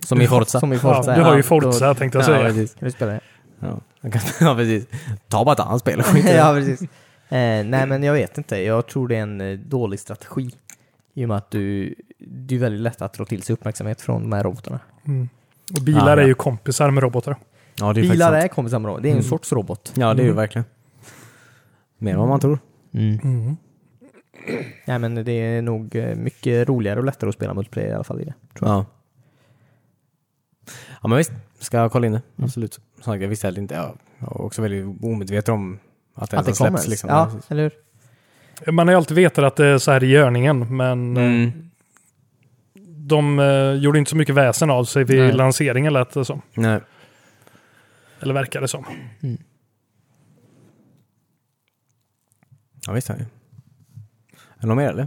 E: Som i Forza.
C: Som i
B: ja,
C: Forza.
B: du har ju
C: Ja,
B: Forza
C: då-
B: tänkte jag
E: ja,
B: säga.
E: precis.
C: Kan du spela det?
E: Ja. Man kan- ja, precis. Ta bara ett annat spel och skit i det.
C: ja, precis. Eh, nej, men jag vet inte. Jag tror det är en eh, dålig strategi. I och med att du, det är väldigt lätt att dra till sig uppmärksamhet från de här robotarna.
B: Och bilar
E: Ja, ja.
B: är ju kompisar med robotar.
E: Ja, det är ju
C: Bilar
E: faktiskt
C: är Mm. kompisar med robot. Det är Mm. en sorts robot.
E: sant. Ja, det är ju verkligen. Mer än vad man tror.
C: Mm.
B: Mm.
C: Nej, men det är nog eh, mycket roligare och lättare att spela multiplayer i alla fall i det.
E: Ja. Ja men visst, ska jag kolla in det.
C: Mm.
E: Absolut. Som sagt, jag visste heller inte. Jag var också väldigt omedveten om att det,
C: Att det
E: ens har
C: kommer.
E: släppts. Liksom.
C: Ja, eller hur?
B: Man har ju alltid vetat att det är så här i görningen, men eh,
E: Mm.
B: de eh, gjorde inte så mycket väsen av sig vid
E: Nej.
B: lanseringen lät det som.
E: Nej.
B: Eller verkar det som.
E: Ja visst har jag ju. Är det något mer eller?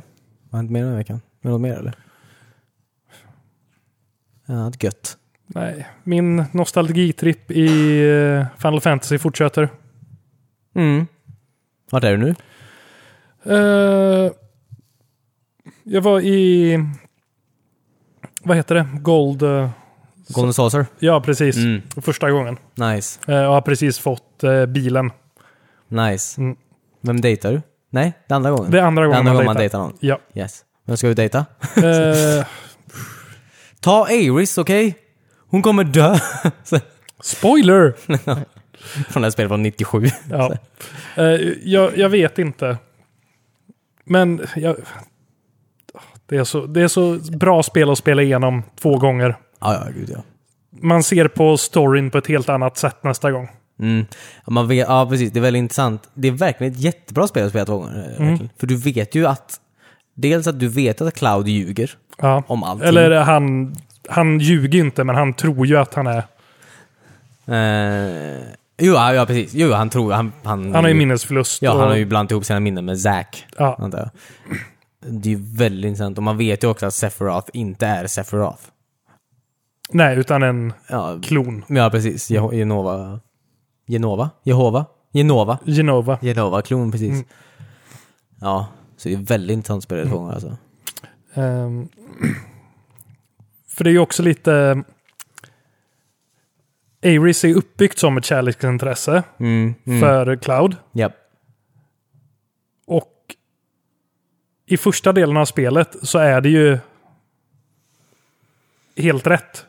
E: Vad har hänt mer den här veckan? Är det något mer eller? Ja, det är gött.
B: Nej, min nostalgitripp i eh, Final Fantasy fortsätter.
E: Mm. Vart är du nu?
B: Eh, jag var i... Vad heter det? Gold... eh,
E: Golden Saucer?
B: Ja, precis.
E: Mm.
B: Första gången.
E: Nice.
B: Eh, Jag har precis fått eh, bilen.
E: Nice.
B: Mm.
E: Vem dejtar du? Nej, det är andra gången.
B: Det är andra
E: Det är
B: gången
E: andra
B: man
E: gången man
B: dejtar.
E: dejtar någon.
B: Ja.
E: Yes. Vem ska du dejta?
B: Eh,
E: Ta Iris, okej? Hon kommer dö! Så-
B: spoiler!
E: Från det här spelet från 97.
B: Ja. Eh, jag, jag vet inte. Men jag, det, är så, det är så bra spel att spela igenom två gånger.
E: Ja, ja, gud ja.
B: Man ser på storyn på ett helt annat sätt nästa gång.
E: Mm. Ja, Man vet, ja, precis. Det är väldigt intressant. Det är verkligen ett jättebra spel att spela två gånger.
B: Mm.
E: eh, verkligen. För du vet ju att... Dels att du vet att Cloud ljuger
B: Ja.
E: om allting.
B: Eller han, han ljuger ju inte, men han tror ju att han är...
E: Eh, jo, ja, ja, precis. Jo, han tror... Han, han,
B: Han har ju minnesförlust.
E: Ja,
B: och-
E: han har ju blandat ihop sina minnen med Zack.
B: ja.
E: Antar jag. Det är ju väldigt intressant. Och man vet ju också att Sephiroth inte är Sephiroth.
B: Nej, utan en
E: Ja,
B: klon.
E: ja precis. Jeho- Genova... Genova? Jehova? Genova? Mm.
B: Genova.
E: Genova-klon, precis. Ja, så det är väldigt intressant spel i två gånger alltså.
B: Ehm, för det är ju också lite... Ares är uppbyggt som ett kärleksintresse
E: Mm, mm.
B: för Cloud.
E: Japp.
B: Och i första delen av spelet så är det ju helt rätt.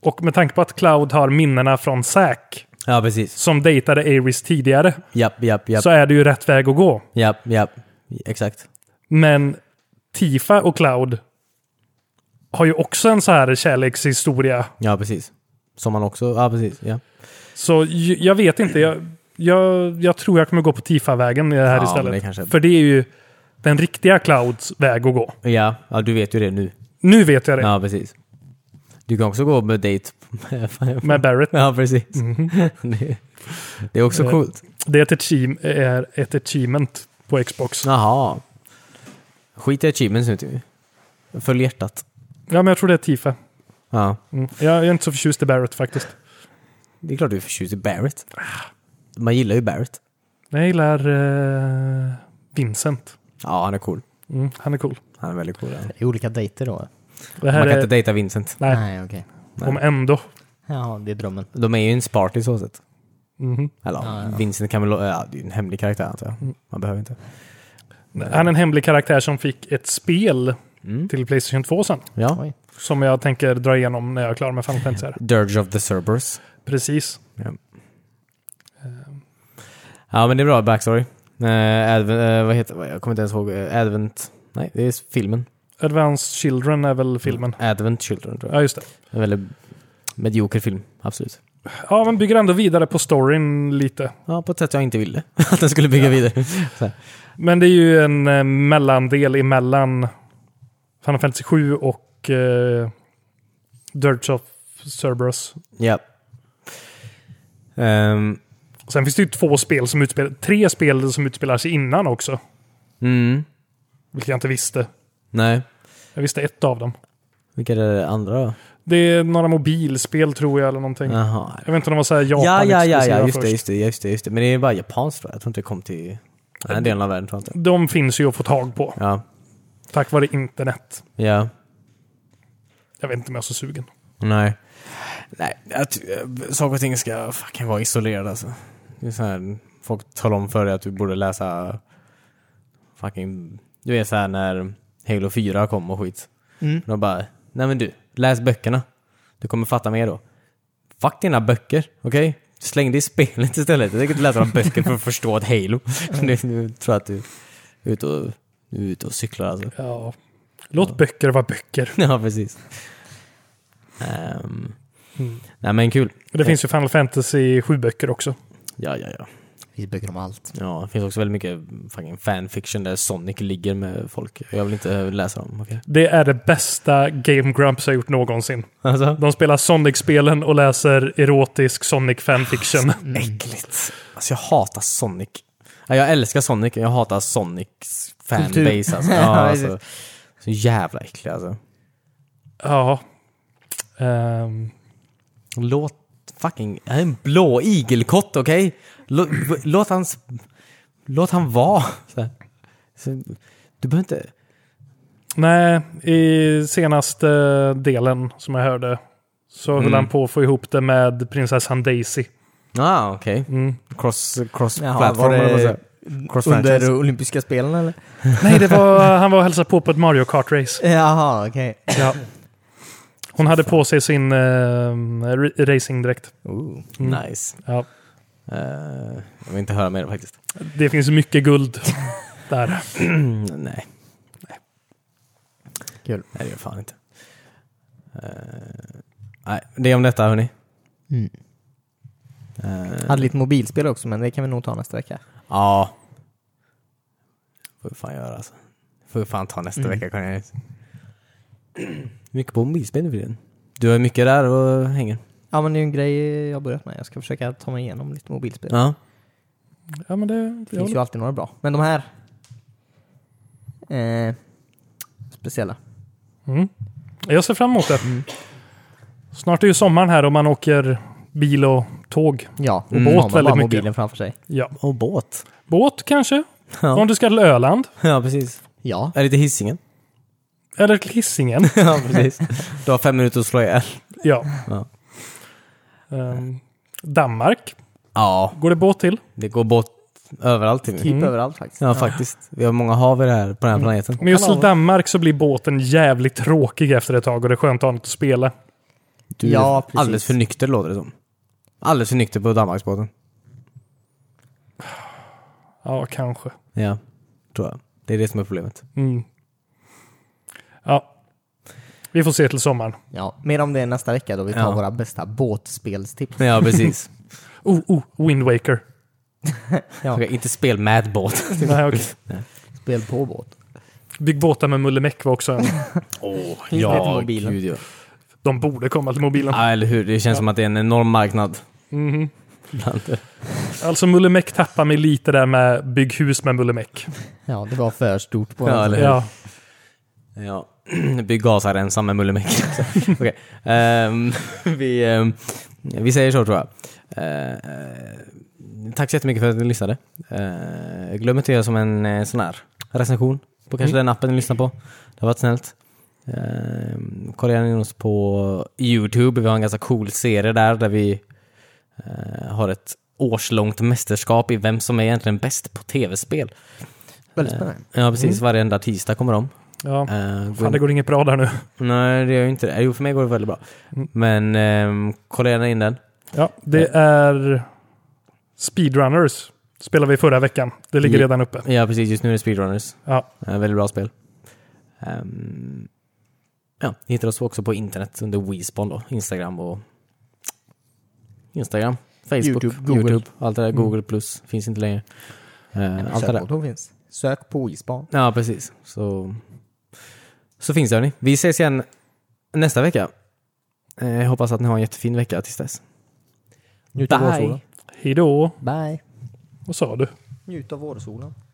B: Och med tanke på att Cloud har minnena från Zack,
E: Ja, precis.
B: som dejtade Ares tidigare,
E: Japp, japp, japp.
B: så är det ju rätt väg att gå.
E: Japp, japp. Exakt.
B: Men Tifa och Cloud har ju också en så här kärlekshistoria.
E: Ja, precis. Som man också... Ja, precis. Ja.
B: Så j- jag vet inte. Jag, jag, jag tror jag kommer gå på Tifa-vägen i det här
E: Ja,
B: istället.
E: men det kanske-
B: För det är ju den riktiga Clouds väg att gå.
E: Ja, ja, du vet ju det nu.
B: Nu vet jag det.
E: Ja, precis. Du kan också gå med dejt
B: Med Barrett.
E: Ja, precis. det, det är också
B: Eh.
E: coolt.
B: Det är ett, achieve, är ett achievement på Xbox. Ja.
E: Jaha. Skit i achievements nu, typ. Följ hjärtat.
B: men jag tror det är Tifa.
E: Ja.
B: Mm. Jag är inte så förtjust i Barrett faktiskt.
E: Det är klart du är förtjust i Barrett. Man gillar ju Barrett.
B: Men jag gillar eh, Vincent.
E: Ja, han är cool.
B: Mm, han är cool.
E: Han är väldigt cool. Han.
C: Det är olika dejter då?
B: Det här
E: Man kan
B: är,
E: inte dejta Vincent.
B: Nej.
C: Nej, okej.
B: om ändå.
C: Ja, det är drömmen.
E: De är ju en sparty så sätt.
B: Mhm.
E: Eller
C: Ja, ja.
E: Vincent kan väl... Ja, det är ju en hemlig karaktär antar jag. Man behöver inte.
B: Han är en hemlig karaktär som fick ett spel
E: Mm.
B: till Playstation 2 sen.
E: Ja.
C: Oj.
B: Som jag tänker dra igenom när jag är klar med Final Fantasy. här.
E: Dirge of the Cerberus.
B: Precis.
E: Ja, men det är bra backstory. Eh, advent, eh, vad heter Jag kommer inte ens ihåg. Eh, Advent... Nej, det är filmen.
B: Advanced Children är väl filmen.
E: Advent Children tror jag.
B: Ja, just det.
E: En väldigt medioker film, absolut.
B: Ja, men bygger ändå vidare på storyn lite.
E: Ja, på ett sätt jag inte ville att den skulle bygga vidare. Så här.
B: Men det är ju en eh, mellandel emellan Final Fantasy 7 och eh, Dirge of Cerberus.
E: Ja. Ehm,
B: Sen finns det ju två spel som utspelar, tre spel som utspelar sig innan också.
E: mm,
B: Vilket jag inte visste.
E: nej.
B: Jag visste ett av dem.
E: Vilka är det andra då?
B: Det är några mobilspel tror jag eller någonting.
E: Jaha.
B: Jag vet inte om de var så här japan
E: Ja, ja, ja,
B: exklusiva
E: ja, just det,
B: först.
E: just det, just det, just det. Men det är bara japanskt tror jag. Jag tror inte det kom till den här delen av världen, tror jag inte.
B: De finns ju att få tag på
E: Ja,
B: tack vare internet.
E: ja,
B: Jag vet inte om jag är så sugen.
E: nej. Nej, jag ty- eh, saker och ting ska fucking vara isolerade alltså. Det är så här, folk talar om för dig att du borde läsa fucking... Du är så här när Halo 4 kom och skit.
C: Mm.
E: De bara, nej men du, läs böckerna. Du kommer fatta mer då. Fuck dina böcker, okej? Släng det i spelet istället. Jag tänker inte läsa några böcker för att förstå ett Halo. nu, nu tror jag att du är ute och, du är ute och cyklar alltså.
B: Ja. Låt böcker vara böcker.
E: ja, precis. Ehm,
B: Mm.
E: Nej men kul.
B: Det finns ju Final Fantasy 7-böcker också.
E: Ja, ja, ja.
C: Det finns böcker om allt.
E: Ja, det finns också väldigt mycket fucking fanfiction där Sonic ligger med folk. Jag vill inte läsa dem, okej?
B: Det är det bästa Game Grumps har gjort någonsin.
E: Alltså?
B: De spelar Sonic-spelen och
E: Mm.
B: läser erotisk Sonic fanfiction.
E: Äckligt. Alltså jag hatar Sonic. Ja, jag älskar Sonic, jag hatar Sonics fanbase alltså.
C: Ja,
E: Ja, alltså.
C: precis.
E: Så jävla äcklig alltså.
B: Ja. Ehm,
E: Låt fucking, det här är en blå igelkott, okej? Lå- v- Låt han, s- låt han vara. Så här. Så, du behöver inte,
B: nej, i senaste delen som jag hörde så höll han på att få ihop det med prinsessan Daisy.
E: ah, okej.
B: Mm.
E: Cross, cross
C: Jaha,
E: platform
C: var
E: eller vad säger
C: det
E: jag? Cross
C: under
E: franchise.
C: olympiska spelen eller?
B: Nej, det var, han var och hälsade på på ett Mario Kart-race.
C: Jaha, okej.
B: Ja. Hon hade på sig sin eh, ra- racingdräkt.
C: Ooh.
E: Nice.
B: Ja.
E: Eh, jag vill inte höra mer faktiskt.
B: Det finns mycket guld där.
E: Mm, nej. nej.
C: Kul.
E: Nej, det gör fan inte. Eh, nej, det är om detta hörni.
C: Mm.
E: Eh,
C: Hade lite mobilspel också, men det kan vi nog ta nästa vecka.
E: Ja. Får vi fan göra alltså. Får vi fan ta nästa vecka Cornelius. Mycket på mobilspel nu för tiden. Du har mycket där och hänger.
C: Ja, men det är ju en grej jag har börjat med. Jag ska försöka ta mig igenom lite mobilspel.
E: Ja.
B: Ja, men det,
C: Det finns ju alltid några bra. Men de här... Eh, speciella.
B: Mm. Jag ser fram emot det.
E: Mm.
B: Snart är ju sommaren här och man åker bil och tåg.
C: Ja, och
B: Mm.
C: mm. har
B: Båt
C: man
B: väldigt
C: bara
B: mycket.
C: mobilen framför sig.
B: Ja.
E: Och båt.
B: Båt kanske?
E: Ja,
B: Om du ska till Öland?
E: ja precis.
C: Ja.
E: Är det till Hisingen?
B: Eller till Hisingen?
E: ja, precis. Du har fem minuter att slå ihjäl.
B: ja.
E: Ja.
B: Ehm, Danmark
E: Ja,
B: går det båt till.
E: det går båt överallt till
C: Typ
E: nu. Mm.
B: Mm.
C: överallt faktiskt.
E: Ja, faktiskt. Vi har många hav i det här, på den här planeten.
B: Men just till
C: Kanalen.
B: Danmark så blir båten jävligt tråkig efter ett tag och det är skönt att ha något att spela.
E: Du är
C: Ja, precis.
E: alldeles för nykter låter det som. Alldeles för nykter på Danmarksbåten.
B: Ja, kanske.
E: Ja, tror jag. Det är det som är problemet.
B: Mm. Ja. Vi får se till sommaren.
C: Ja, mer om det nästa vecka då vi tar
E: Ja.
C: våra bästa båtspelstips.
E: Ja, precis.
B: Oh, oh, Wind Waker.
C: Ja.
E: Okej, inte spel med båt.
B: Nej, okay.
C: Spel på båt.
B: Bygg båtar med Mulle Meck var också en.
C: Ja, till mobilen.
E: ja.
B: De borde komma till mobilen.
E: Ja, eller hur. Det känns som att det är en enorm marknad.
B: Mhm.
E: Bland det.
B: Alltså Mulle Meck tappar mig lite där med bygg hus med Mulle Meck.
C: Ja, det var för stort på
E: Ja, eller hur.
B: Ja.
E: Ja. Bygg gasarensaren med Mulle Meck. Okej. Ehm, vi, ehm, vi säger så tror jag. Eh, eh, tack så jättemycket för att ni lyssnade. Eh, glöm inte att göra som en eh, sån här recension på kanske
B: Mm.
E: den appen ni lyssnar på. Det har varit snällt. Ehm, kolla gärna in oss på Youtube. Vi har en ganska cool serie där, där vi eh, har ett årslångt mästerskap i vem som är egentligen bäst på tv-spel.
C: Väldigt spännande.
E: Ja, precis. Varenda tisdag kommer de.
B: ja.
E: Eh, gå in-
B: Mm. Fan, det går inget bra där nu.
E: Nej, det gör ju inte det. Jo, för mig går det väldigt bra.
C: Mm.
E: Men ehm, kolla gärna in den.
B: Ja, det är Speedrunners. Spelade vi förra veckan. Det ligger
E: Ja.
B: redan uppe.
E: Ja, precis. Just nu är det Speedrunners.
B: Ja.
E: Eh, väldigt bra spel. Ehm, ja, ni hittar oss också på internet under WeSpawn då. Instagram och... Instagram, Facebook,
C: YouTube, Google. Mm.
E: allt det där. Google plus finns inte längre. Eh, allt det där.
C: Sökmotorn finns. Sök på isban.
E: Ja, precis. Så, så finns det, hörni. Vi ses igen nästa vecka. Eh, jag hoppas att ni har en jättefin vecka tills dess.
C: Njut av
E: Bye.
C: vårsolen.
B: Hej då.
C: Bye.
B: Vad sa du?
C: Njut av vårsolen.